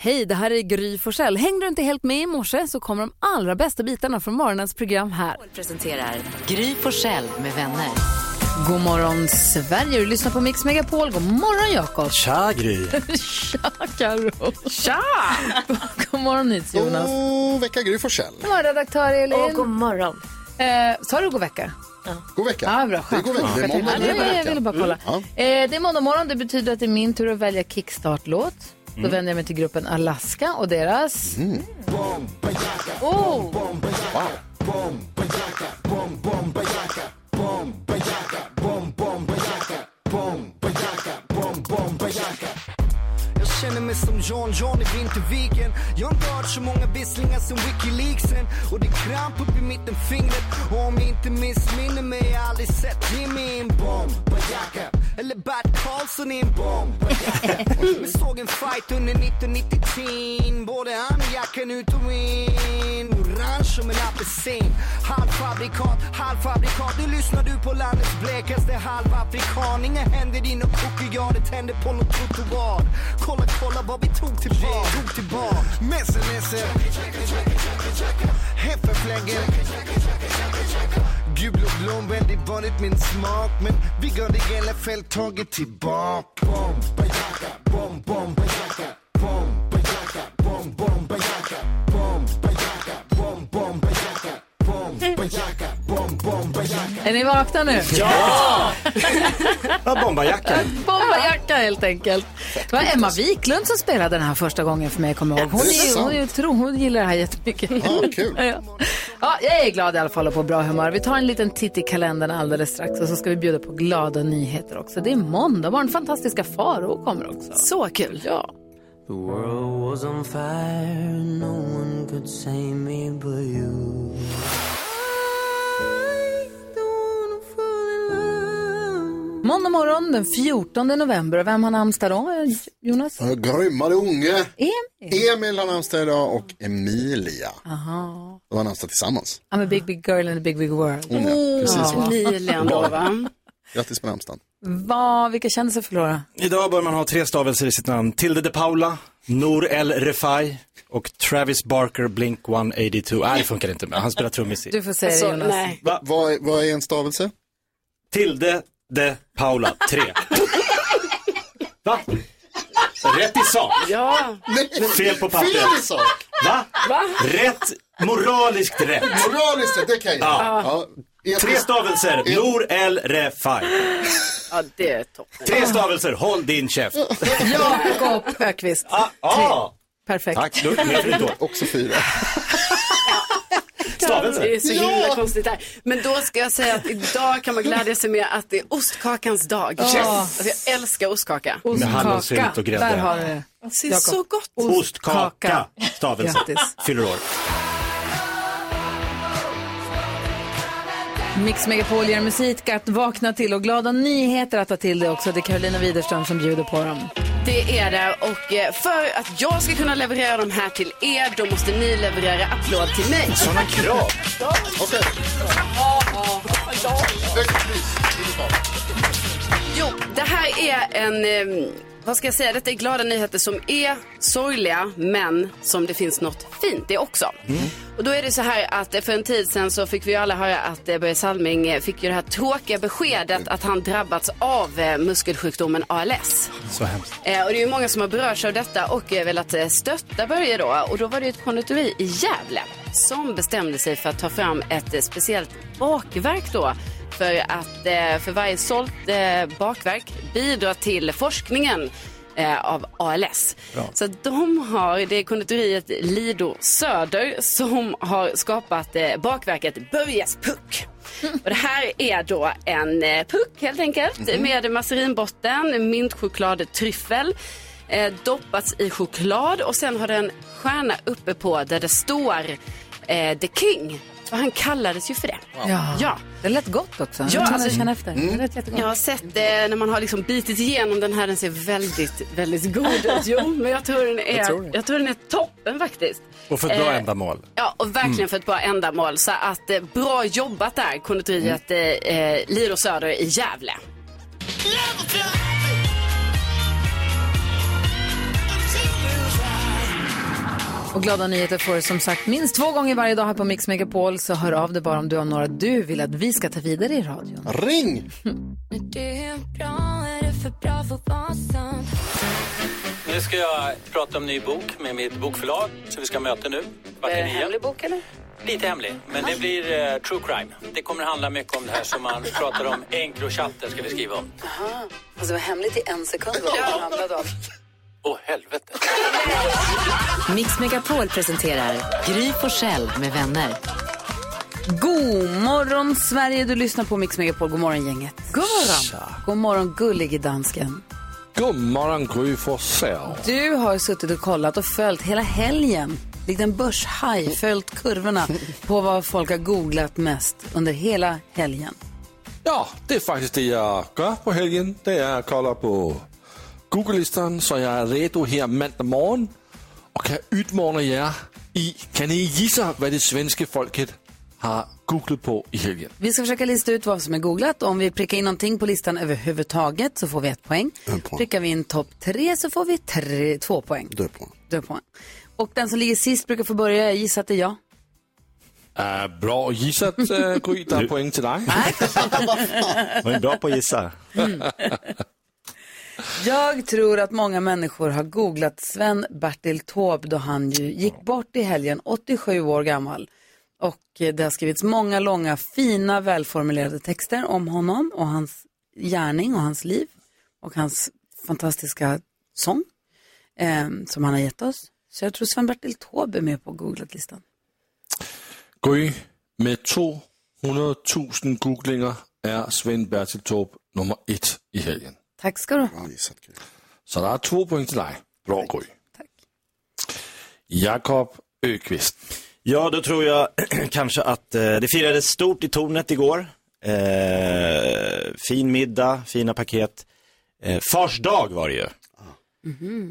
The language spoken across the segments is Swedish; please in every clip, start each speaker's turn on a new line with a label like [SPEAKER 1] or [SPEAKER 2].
[SPEAKER 1] Hej, det här är Gry Forssell. Hängde du inte helt med i morse så kommer de allra bästa bitarna från morgonens program här.
[SPEAKER 2] presenterar Gry Forssell med vänner.
[SPEAKER 1] God morgon Sverige, du lyssnar på Mix Megapol. God morgon Jakob.
[SPEAKER 3] Tja Gry!
[SPEAKER 1] Tja Karo. Tja! God morgon Nils Jonas.
[SPEAKER 3] God vecka Gry Forssell.
[SPEAKER 1] God morgon redaktör Elin.
[SPEAKER 4] Och god morgon.
[SPEAKER 1] Eh, sa du god vecka?
[SPEAKER 3] God vecka.
[SPEAKER 1] Ja, bra. Skönt.
[SPEAKER 3] Det är god vecka. Det är måndag.
[SPEAKER 1] Ja,
[SPEAKER 3] det är
[SPEAKER 1] jag, jag
[SPEAKER 3] vecka.
[SPEAKER 1] ville bara kolla.
[SPEAKER 3] Mm,
[SPEAKER 1] Eh, det är måndag morgon. Det betyder att det är min tur att välja kickstart-låt. Då
[SPEAKER 3] Mm.
[SPEAKER 1] vänder jag mig till gruppen Alaska och deras... Oh!
[SPEAKER 5] Jag känner mig som John John i Vinterviken Jag har inte hört så många visslingar som Wikileaksen Och det är kramp upp i mittenfingret Och om jag inte missminner mig Jag har aldrig sett Jimmy i en bomb Bajaka Eller Bert Karlsson i en bomb Bajaka Vi såg en fight under 1993 Både han och jackan ut och in Orange som en apelsin Halvfabrikat, halvfabrikat Nu lyssnar du på landets blekaste halvafrikan Inga händer in och kokar jag Det tänder på något trottoar Kolla, kolla vad vi tog till bar Tog till bar Messe, messe Heffefläggen Gul och blom, väldigt vanligt min smak Men vi går det i alla fall taget tillbaka Bomb, bajaka, bomb, bomb, bajaka Bomb, bajaka, bomb, bomb, bajaka Bomb, bajaka, bomb, bomb, bajaka Bomb, bajaka, bomb, bomb, bajaka
[SPEAKER 1] Är ni vakna nu?
[SPEAKER 6] Ja, bombajackan.
[SPEAKER 1] Bombajacka helt enkelt. Det var Emma Wiklund som spelade den här första gången för mig, kommer jag ihåg. Hon, är, hon, är, tro, hon gillar det här jättemycket.
[SPEAKER 3] Ja, kul.
[SPEAKER 1] Ja. Ja, jag är glad i alla fall och på bra humör. Vi tar en liten titt i kalendern alldeles strax och så ska vi bjuda på glada nyheter också. Det är måndag morgon, fantastiska Faro kommer också.
[SPEAKER 4] Så kul.
[SPEAKER 1] Ja.
[SPEAKER 7] The world was on fire, no one could save me but you.
[SPEAKER 1] Måndag morgon den 14 november och vem har namnsdag då? Jonas?
[SPEAKER 3] Ja, Grymmare unge.
[SPEAKER 1] Emil.
[SPEAKER 3] Emil har namnsdag idag och Emilia.
[SPEAKER 1] Aha.
[SPEAKER 3] De har namnsdag tillsammans.
[SPEAKER 1] I'm a big, big girl in a big, big world.
[SPEAKER 3] Hon, ja. Precis så.
[SPEAKER 4] Lilian då va?
[SPEAKER 3] Grattis på namnsdagen.
[SPEAKER 1] Vad, vilka kändisar förlorar?
[SPEAKER 6] Idag bör man ha tre stavelser i sitt namn. Tilde de Paula, Nour El Refai och Travis Barker Blink 182. Nej, det funkar inte. Men han spelar trummis i.
[SPEAKER 1] Du får säga det
[SPEAKER 4] Så,
[SPEAKER 1] Jonas.
[SPEAKER 4] Alltså, nej.
[SPEAKER 3] Vad är, vad är en stavelse?
[SPEAKER 6] Tilde de Paula 3. Va? Rätt i sak.
[SPEAKER 4] Ja,
[SPEAKER 3] Nej,
[SPEAKER 6] Fel på pappret.
[SPEAKER 3] fel i sak.
[SPEAKER 6] Va? Rätt. Moraliskt rätt.
[SPEAKER 3] Moraliskt sett, det kan jag. Ja. Ja.
[SPEAKER 6] Tre stavelser. Nour El Refai.
[SPEAKER 4] ja det är toppen.
[SPEAKER 6] Tre stavelser. Håll din käft.
[SPEAKER 1] Jakob Högqvist.
[SPEAKER 6] Ah, ah.
[SPEAKER 1] Perfekt.
[SPEAKER 6] Tack. Du är med för idag.
[SPEAKER 3] Också fyra.
[SPEAKER 4] Det
[SPEAKER 6] Stavelser.
[SPEAKER 4] är så himla konstigt där. Men då ska jag säga att idag kan man glädja sig med att det är ostkakans dag. Yes. Alltså, jag älskar ostkaka.
[SPEAKER 6] Med
[SPEAKER 1] Ostkaka.
[SPEAKER 6] hallonsylt och grädde.
[SPEAKER 1] Där har du det.
[SPEAKER 4] Det är så gott.
[SPEAKER 6] Ostkaka. Stavelse.
[SPEAKER 1] Grattis.
[SPEAKER 6] Fyller år.
[SPEAKER 1] Mix Megapol ger musik att vakna till och glada nyheter att ta till det också. Det är Carolina Widerström som bjuder på dem.
[SPEAKER 4] Det är det och eh, för att jag ska kunna leverera de här till er då måste ni leverera applåd till mig. eh,
[SPEAKER 6] Sådana krav.
[SPEAKER 3] Okej. Högt pris.
[SPEAKER 4] Jo, det här är en, eh, vad ska jag säga, detta är glada nyheter som är sorgliga men som det finns något fint i också. Och då är det så här att eh, för en tid sedan så fick vi ju alla höra att eh, Börje Salming eh, fick ju det här tråkiga beskedet att han drabbats av eh, muskelsjukdomen ALS.
[SPEAKER 6] Så hemskt.
[SPEAKER 4] Eh, och det är ju många som har berörts av detta och eh, velat eh, stötta Börje då. Och då var det ju ett konditori i Gävle som bestämde sig för att ta fram ett eh, speciellt bakverk då. För att eh, för varje sålt eh, bakverk bidra till forskningen eh, av ALS. Så de har, det är konditoriet Lido Söder som har skapat eh, bakverket Börjes puck. Och det här är då en eh, puck helt enkelt med mazarinbotten, mintchoklad, tryffel, eh, doppats i choklad och sen har den stjärna uppe på där det står eh, The King. För han kallades ju för det.
[SPEAKER 1] Ja.
[SPEAKER 4] Ja.
[SPEAKER 1] Det lät gott också.
[SPEAKER 4] Ja,
[SPEAKER 1] Ja,
[SPEAKER 4] alltså-
[SPEAKER 1] känna efter. Det lät jättegott.
[SPEAKER 4] Jag har sett eh, när man har liksom bitit igenom den här, den ser väldigt, väldigt god ut. Jo, men jag tror den är, jag tror den är toppen faktiskt.
[SPEAKER 6] Och för ett bra
[SPEAKER 4] Eh,
[SPEAKER 6] ändamål. Mm.
[SPEAKER 4] Ja, och verkligen för ett bra ändamål. Så att eh, bra jobbat där, konditoriet eh,
[SPEAKER 6] Mm.
[SPEAKER 4] eh, Liro Söder i Gävle.
[SPEAKER 1] Och glada nyheter får du som sagt minst två gånger varje dag här på Mix Megapol. Så hör av dig bara om du har några du vill att vi ska ta vidare i radion.
[SPEAKER 3] Ring!
[SPEAKER 8] Nu ska jag prata om ny bok med mitt bokförlag som vi ska ha möte nu. Kvart i
[SPEAKER 1] Eh,
[SPEAKER 8] nio.
[SPEAKER 4] bok eller?
[SPEAKER 8] Lite hemlig, men det blir eh, true crime. Det kommer handla mycket om det här som man pratar om. Encrochatten ska vi skriva om.
[SPEAKER 1] Alltså det var hemligt i en sekund vad det handlade om.
[SPEAKER 8] Åh, helvete.
[SPEAKER 7] Mix Megapol presenterar Gry Forssell med vänner.
[SPEAKER 1] God morgon Sverige, du lyssnar på Mix Megapol. God morgon gänget. God morgon. God morgon gullig i dansken.
[SPEAKER 9] God morgon Gry Forssell.
[SPEAKER 1] Du har suttit och kollat och följt hela helgen, likt en börshaj, följt kurvorna på vad folk har googlat mest under hela helgen.
[SPEAKER 9] Ja, det är faktiskt det jag gör på helgen. Det är att kolla på Google-listan så jag är redo här måndag morgon och kan utmana er i, kan ni gissa vad det svenska folket har googlat på i helgen?
[SPEAKER 1] Vi ska försöka lista ut vad som är googlat. Om vi prickar in någonting på listan överhuvudtaget så får vi ett poäng. Prickar vi in topp tre så får vi tre, två poäng.
[SPEAKER 3] Du är på.
[SPEAKER 1] Då är det poäng. Och den som ligger sist brukar få börja. Jag gissar att det är jag.
[SPEAKER 9] Äh, bra gissat äh, Gry, där är poäng till dig.
[SPEAKER 6] Hon är bra på att gissa.
[SPEAKER 1] Jag tror att många människor har googlat Sven-Bertil Taube då han ju gick bort i helgen, 87 år gammal. Och eh, det har skrivits många långa, fina, välformulerade texter om honom och hans gärning och hans liv och hans fantastiska sång eh, som han har gett oss. Så jag tror Sven-Bertil Taube är med på googlat-listan.
[SPEAKER 9] Gry, med 200 000 googlinger är Sven-Bertil Taube nummer ett i helgen.
[SPEAKER 1] Tack ska du ha.
[SPEAKER 3] Bra gissat, Gry.
[SPEAKER 9] Så der er to point til dig. Bra, Gry.
[SPEAKER 1] Tak.
[SPEAKER 9] Jakob Öqvist.
[SPEAKER 6] Ja, då tror jag kanske att eh, det firades stort i tornet igår. Eh, fin middag, fina paket. Eh, fars dag var det ju.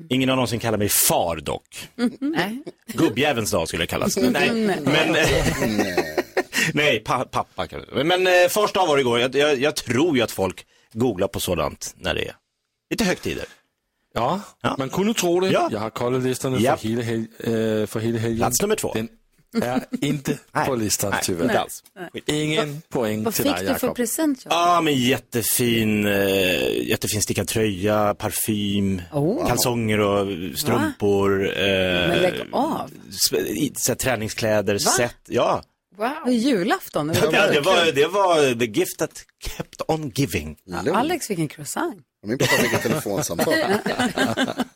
[SPEAKER 6] Ingen har någonsin kallat mig far dock.
[SPEAKER 1] Mm-hmm. Nej.
[SPEAKER 6] Gubbjävelns dag skulle det kallas.
[SPEAKER 1] Mm.
[SPEAKER 6] Nej, men... eh, Nej, pa- pappa kanske. Men eh, fars dag var det igår. Jag, jag, jag tror ju att folk googlar på sådant när det är lite högtider.
[SPEAKER 9] Ja,
[SPEAKER 6] Ja.
[SPEAKER 9] man kunne tro det.
[SPEAKER 6] Ja.
[SPEAKER 9] Jeg har koldet listerne
[SPEAKER 6] Ja.
[SPEAKER 9] for, hele hel- øh, for hele helgen.
[SPEAKER 6] Plats nummer två.
[SPEAKER 9] Den er inte på listerne,
[SPEAKER 6] inte
[SPEAKER 9] tyvärr.
[SPEAKER 6] alls.
[SPEAKER 9] Ingen point
[SPEAKER 1] Vad
[SPEAKER 9] til
[SPEAKER 1] fick
[SPEAKER 9] dig,
[SPEAKER 1] du för
[SPEAKER 9] Jakob.
[SPEAKER 1] present? Jakob?
[SPEAKER 6] Ja, men jättefin, eh, jättefin stickad tröja, parfym,
[SPEAKER 1] Oh.
[SPEAKER 6] kalsonger och strumpor. Eh,
[SPEAKER 1] Men lägg av.
[SPEAKER 6] sp- i- så här, träningskläder, set. Ja.
[SPEAKER 1] Det är julafton. eller?
[SPEAKER 6] Ja, det, var, det var the gift that kept on giving.
[SPEAKER 3] Lugn.
[SPEAKER 1] Alex fick en croissant.
[SPEAKER 3] Min pappa fick ett telefonsamtal.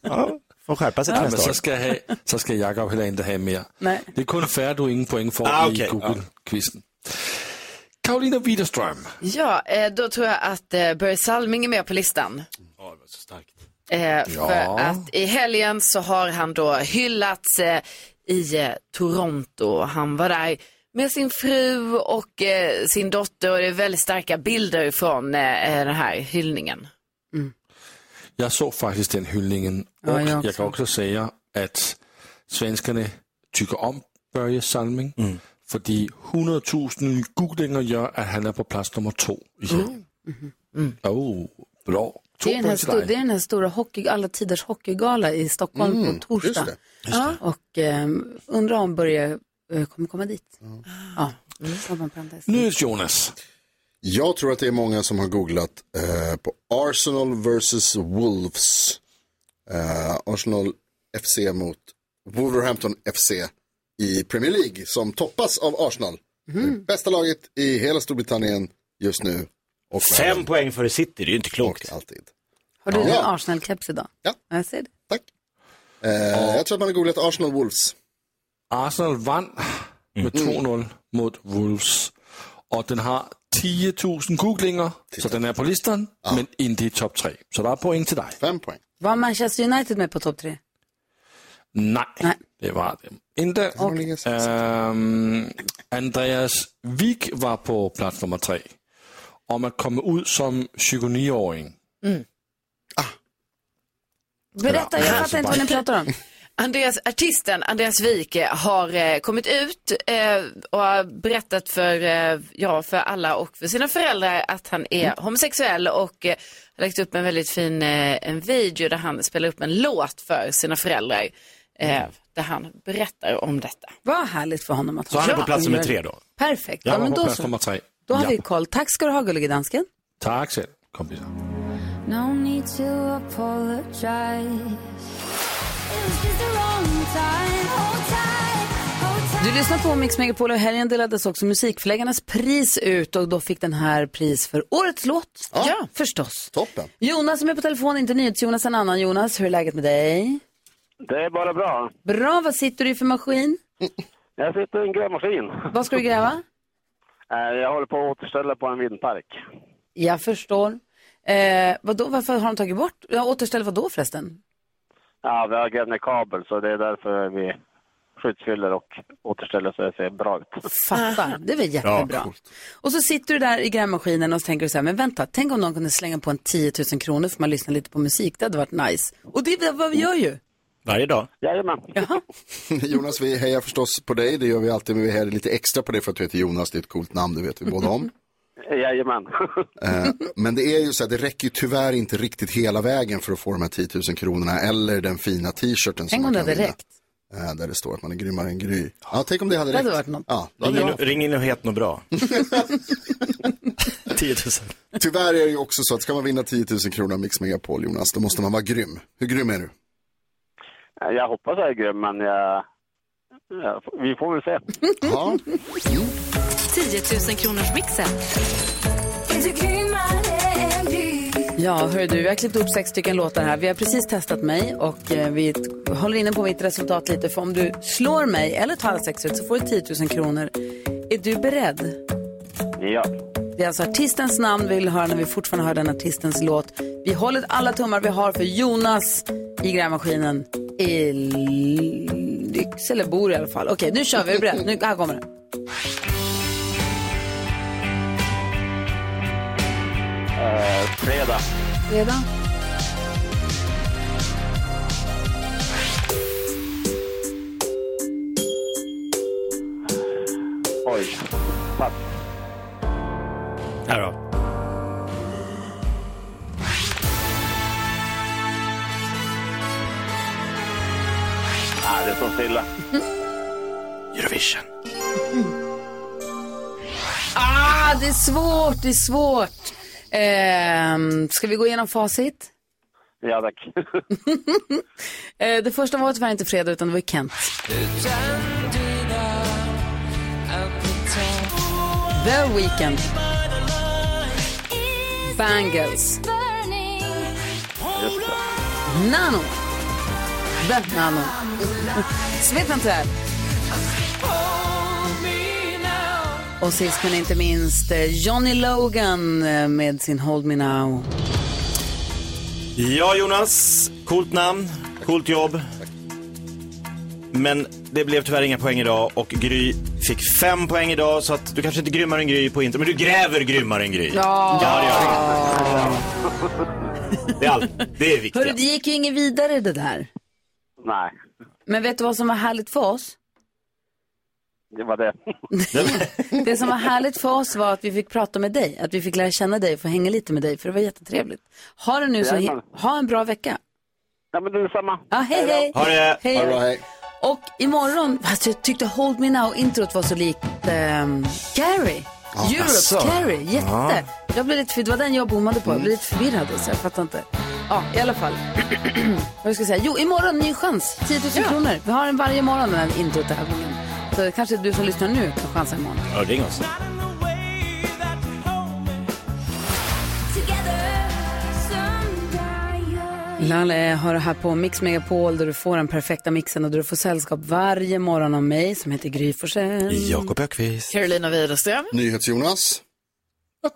[SPEAKER 6] Ja, får skärpa sig till
[SPEAKER 9] Men
[SPEAKER 6] nästa
[SPEAKER 9] så
[SPEAKER 6] år.
[SPEAKER 9] skal, jeg have, så skal Jakob heller ikke have mere.
[SPEAKER 1] Nej.
[SPEAKER 9] Det er kun færre, du ingen point for
[SPEAKER 6] Ah,
[SPEAKER 9] i
[SPEAKER 6] okay.
[SPEAKER 9] Google-quizzen. Karolina Widerstrøm.
[SPEAKER 4] Ja, eh, då tror jag att eh, Börje Salming är med på listan. Eh, för att i helgen så har han då hyllats eh, i eh, Toronto. Han var där med sin fru och eh, sin dotter och det är väldigt starka bilder från eh, eh, den här hyllningen.
[SPEAKER 9] Jeg så faktisk den hyldningen,
[SPEAKER 1] Ja,
[SPEAKER 9] og
[SPEAKER 1] jeg
[SPEAKER 9] jeg,
[SPEAKER 1] også.
[SPEAKER 9] kan også sige, at svenskerne tykker om Børje Salming, fordi 100.000 nye googlinger gør, at han er på plads nummer to i helgen. Åh, bra. To
[SPEAKER 1] Mm. Det är, den här
[SPEAKER 9] point til
[SPEAKER 1] stor, det är
[SPEAKER 9] dig.
[SPEAKER 1] den här stora hockey, alla tiders hockeygala i Stockholm på
[SPEAKER 3] Mm, just
[SPEAKER 1] torsdag.
[SPEAKER 3] det.
[SPEAKER 1] Ja. Och eh, undrar om Börje eh, kommer komma dit. Ja. Mm.
[SPEAKER 9] Nyheds Jonas.
[SPEAKER 3] Jag tror att det är många som har googlat eh, på Arsenal vs Wolves. Eh, Arsenal FC mot Wolverhampton FC i Premier League som toppas av Arsenal. Det bästa laget i hela Storbritannien just nu. Och
[SPEAKER 6] Fem poäng före City, det är ju inte klokt.
[SPEAKER 3] och alltid.
[SPEAKER 1] Har du
[SPEAKER 3] Ja.
[SPEAKER 1] din Arsenal-keps idag?
[SPEAKER 3] Ja.
[SPEAKER 1] Jag ser det.
[SPEAKER 3] Tack. Eh, jag tror att man har googlat Arsenal Wolves.
[SPEAKER 9] Arsenal vandt med
[SPEAKER 1] Mm.
[SPEAKER 9] 2-0 mod Wolves, og den har 10.000 googlinger, så den er på listen, men ikke i top 3. Så der er point til dig.
[SPEAKER 3] Fem poäng.
[SPEAKER 1] Var Manchester United med på topp tre?
[SPEAKER 9] Nej,
[SPEAKER 1] Nej.
[SPEAKER 9] det var det inte.
[SPEAKER 3] Okay.
[SPEAKER 9] Øhm, Andreas Wik var på plads nummer tre. Om at komme ud som 29-åring.
[SPEAKER 1] Berätta, jag fattar inte vad ni pratar om.
[SPEAKER 4] Andreas, artisten Andreas Wike har eh, kommit ut eh, och har berättat för, eh, ja, för alla och för sina föräldrar att han är
[SPEAKER 1] Mm.
[SPEAKER 4] homosexuell och eh, har lagt upp en väldigt fin eh, en video där han spelar upp en låt för sina föräldrar.
[SPEAKER 8] eh,
[SPEAKER 1] Mm.
[SPEAKER 8] där han berättar om detta.
[SPEAKER 1] Vad härligt för honom att
[SPEAKER 6] Så han är på plats nummer tre då?
[SPEAKER 1] Perfekt. Ja,
[SPEAKER 9] Jag var
[SPEAKER 1] men
[SPEAKER 9] på
[SPEAKER 1] då
[SPEAKER 9] plats
[SPEAKER 1] så.
[SPEAKER 9] nummer tre.
[SPEAKER 1] Då har
[SPEAKER 9] Ja.
[SPEAKER 1] vi koll. Tack ska du ha, gullige dansken.
[SPEAKER 9] Tack själv, kompisar.
[SPEAKER 10] No need to apologize. It was just the wrong time. Hold tight, hold tight.
[SPEAKER 1] Du lyssnar på Mix Megapol och i helgen delades också musikförläggarnas pris ut och då fick den här pris för årets låt.
[SPEAKER 3] Ja.
[SPEAKER 1] förstås.
[SPEAKER 3] Toppen.
[SPEAKER 1] Jonas som är på telefon, inte NyhetsJonas, en annan Jonas. Hur är läget med dig?
[SPEAKER 11] Det är bara bra.
[SPEAKER 1] Bra, vad sitter du i för maskin?
[SPEAKER 11] Jag sitter i en grävmaskin.
[SPEAKER 1] Vad ska du gräva?
[SPEAKER 11] Eh, Jag håller på att återställa på en vindpark.
[SPEAKER 1] Jag förstår. Eh, vadå, varför har de tagit bort? Ja, återställ vad då förresten?
[SPEAKER 11] Ja, vi har grävt ner kabel så det är därför vi skyddsfyller och återställer så det ser bra ut.
[SPEAKER 3] Ah.
[SPEAKER 1] Fattar, det var jättebra. och så sitter du där i grävmaskinen och så tänker du så här, men vänta, tänk om någon kunde slänga på en 10 000 kronor för man lyssnar lite på musik, det hade varit nice. Och det är vad vi gör ju.
[SPEAKER 6] Varje dag.
[SPEAKER 11] Jajamän.
[SPEAKER 1] Jaha.
[SPEAKER 3] Jonas, vi hejar förstås på dig. Det gör vi alltid, men vi hejar lite extra på dig för att du heter Jonas. Det är ett coolt namn, det vet vi båda om.
[SPEAKER 11] Jajamän.
[SPEAKER 3] Eh, Men det är ju så här, det räcker ju tyvärr inte riktigt hela vägen för att få de här 10 000 kronorna eller den fina t-shirten som
[SPEAKER 1] Tänk
[SPEAKER 3] man
[SPEAKER 1] om det
[SPEAKER 3] kan
[SPEAKER 1] hade
[SPEAKER 3] vinna.
[SPEAKER 1] räckt.
[SPEAKER 3] Eh, Där det står att man är grymmare än Gry. Ja, tänk om det hade
[SPEAKER 1] Det
[SPEAKER 3] räckt.
[SPEAKER 1] hade varit något.
[SPEAKER 3] Ja, då hade
[SPEAKER 6] Ring in,
[SPEAKER 3] jag...
[SPEAKER 6] och- ring in och het något bra. 10 000.
[SPEAKER 3] Tyvärr är det ju också så att ska man vinna 10 000 kronor av Mix Megapol, Jonas, då måste man vara grym. Hur grym är du?
[SPEAKER 11] Jag hoppas jag är grym, men jag... ja, vi får väl se.
[SPEAKER 3] Ja,
[SPEAKER 2] 10 000 kronors mixen.
[SPEAKER 10] It's a green man
[SPEAKER 1] Ja, hör du, vi har klippt upp sex stycken låtar här. Vi har precis testat mig och eh, vi t- håller inne på mitt resultat lite. För om du slår mig eller tar alla sex rätt så får du 10 000 kronor. Är du beredd?
[SPEAKER 11] Ja.
[SPEAKER 1] Det är alltså artistens namn vi vill höra när vi fortfarande hör den artistens låt. Vi håller alla tummar vi har för Jonas i grävmaskinen i Lycksele bor i alla fall. Okej, nu kör vi. Är du beredd? Nu, här kommer den.
[SPEAKER 11] Eh, fredag.
[SPEAKER 1] Redan?
[SPEAKER 11] Oj. Pass.
[SPEAKER 6] Här då.
[SPEAKER 11] Ah, det står stilla.
[SPEAKER 6] Eurovision.
[SPEAKER 1] Ah, det är svårt, det är svårt. Ehm, ska vi gå igenom facit?
[SPEAKER 11] Ja, tack.
[SPEAKER 1] Eh, det första var tyvärr inte fredag utan det var ju Kent. The Weeknd. Bangles.
[SPEAKER 10] burning.
[SPEAKER 11] Just det.
[SPEAKER 1] Nano. The Nano. Svetan Träd. Och sist men inte minst eh, Johnny Logan eh, med sin Hold Me Now.
[SPEAKER 6] Ja, Jonas. Coolt namn, coolt jobb. Men det blev tyvärr inga poäng idag och Gry fick fem poäng idag så att du kanske inte grymmar en Gry på inte men du gräver grymmare än Gry.
[SPEAKER 1] Ja.
[SPEAKER 6] det gör du. Det är allt. Det är
[SPEAKER 1] Hörru,
[SPEAKER 6] viktigt.
[SPEAKER 1] det gick ju inget vidare det där.
[SPEAKER 11] Nej,
[SPEAKER 1] Men vet du vad som var härligt för oss?
[SPEAKER 11] det var det.
[SPEAKER 1] Det som var härligt för oss var att vi fick prata med dig, att vi fick lära känna dig och få hänga lite med dig, för det var jättetrevligt. Ha det nu så,
[SPEAKER 11] Jajamän.
[SPEAKER 1] ha en bra vecka.
[SPEAKER 11] Ja, men det är detsamma.
[SPEAKER 1] Ja, hej hej!
[SPEAKER 6] Ha det.
[SPEAKER 3] all
[SPEAKER 1] Hej.
[SPEAKER 3] right.
[SPEAKER 1] Och imorgon, alltså jag tyckte Hold Me Now-introt var så likt ehm, Gary. Europe,
[SPEAKER 6] asså.
[SPEAKER 1] Gary, jätte. Jag blev lite, för det var den jag bommade på, jag blev lite förvirrad så jag fattar inte. Ja, i alla fall. Vad ska jag säga? Jo, imorgon ny chans, 10 000 kronor. Vi har den varje morgon, den här introt den här gången. Så kanske du som lyssnar nu kan chansa imorgon.
[SPEAKER 6] Ja, ring oss.
[SPEAKER 10] Together, someday.
[SPEAKER 1] Lalle har det här på Mix Megapol där du får den perfekta mixen och där du får sällskap varje morgon av mig som heter Gry Forssell.
[SPEAKER 6] Jakob Ökvist.
[SPEAKER 2] Carolina Widerström.
[SPEAKER 3] NyhetsJonas.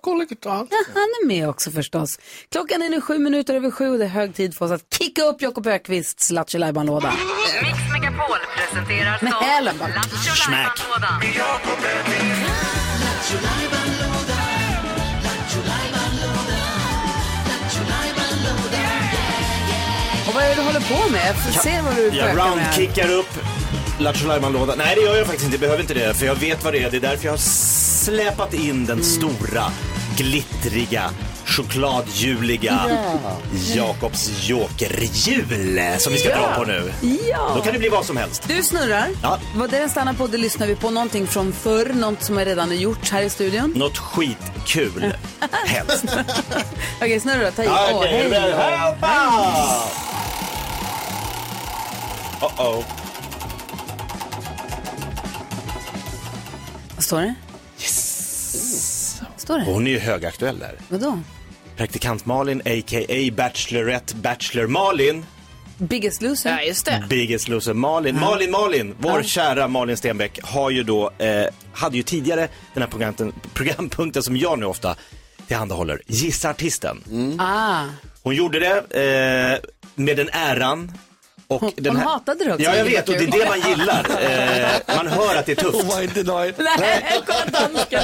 [SPEAKER 1] Han är med också förstås. Klockan är nu sju minuter över sju och det är hög tid för oss att kicka upp Jakob Ökvists Lattjo låda
[SPEAKER 2] Mix Megapol presenterar
[SPEAKER 1] Med hälen bara.
[SPEAKER 6] Smack.
[SPEAKER 1] Och vad är det du håller på med? Jag får se vad du
[SPEAKER 6] Jag
[SPEAKER 1] bökar med.
[SPEAKER 6] roundkickar upp Lattjo Lajban-lådan. Nej, det gör jag faktiskt inte. Jag behöver inte det, för jag
[SPEAKER 1] Mm.
[SPEAKER 6] vet vad det är. Det är därför jag har släpat in den stora, glittriga, chokladhjuliga
[SPEAKER 1] Ja.
[SPEAKER 6] Jakobs jokerhjul som vi ska
[SPEAKER 1] Ja.
[SPEAKER 6] dra på nu.
[SPEAKER 1] Ja.
[SPEAKER 6] Då kan det bli vad som helst.
[SPEAKER 1] Du snurrar.
[SPEAKER 6] Ja.
[SPEAKER 1] Vad det den stannar på, det lyssnar vi på. Någonting från förr, något som är redan har gjorts här i studion.
[SPEAKER 6] Något skitkul. Hemskt.
[SPEAKER 1] Okej, snurra då. Ta i.
[SPEAKER 6] Okej,
[SPEAKER 1] Åh, hej.
[SPEAKER 6] det blir- Hoppa! Uh-oh.
[SPEAKER 1] Vad står det?
[SPEAKER 6] Yes!
[SPEAKER 1] Står det?
[SPEAKER 6] Hon är ju högaktuell där.
[SPEAKER 1] Vadå?
[SPEAKER 6] Praktikant Malin, a.k.a. Bachelorette Bachelor Malin.
[SPEAKER 1] Biggest loser? Ja,
[SPEAKER 8] just det.
[SPEAKER 6] Biggest loser Malin. Malin, Malin, vår kära Malin Stenbeck har ju då, eh, hade ju tidigare den här programpunkten, programpunkten som jag nu ofta tillhandahåller, Gissa Artisten.
[SPEAKER 1] Ah.
[SPEAKER 6] Hon gjorde det eh, med den äran. Och hon, den
[SPEAKER 1] hon hatade det också,
[SPEAKER 6] Ja, jag vet
[SPEAKER 1] vilket
[SPEAKER 6] och det är
[SPEAKER 1] kul.
[SPEAKER 6] det man gillar. Eh, man hör att det är tufft.
[SPEAKER 9] Hon var inte nöjd.
[SPEAKER 1] Nej, kolla dansken.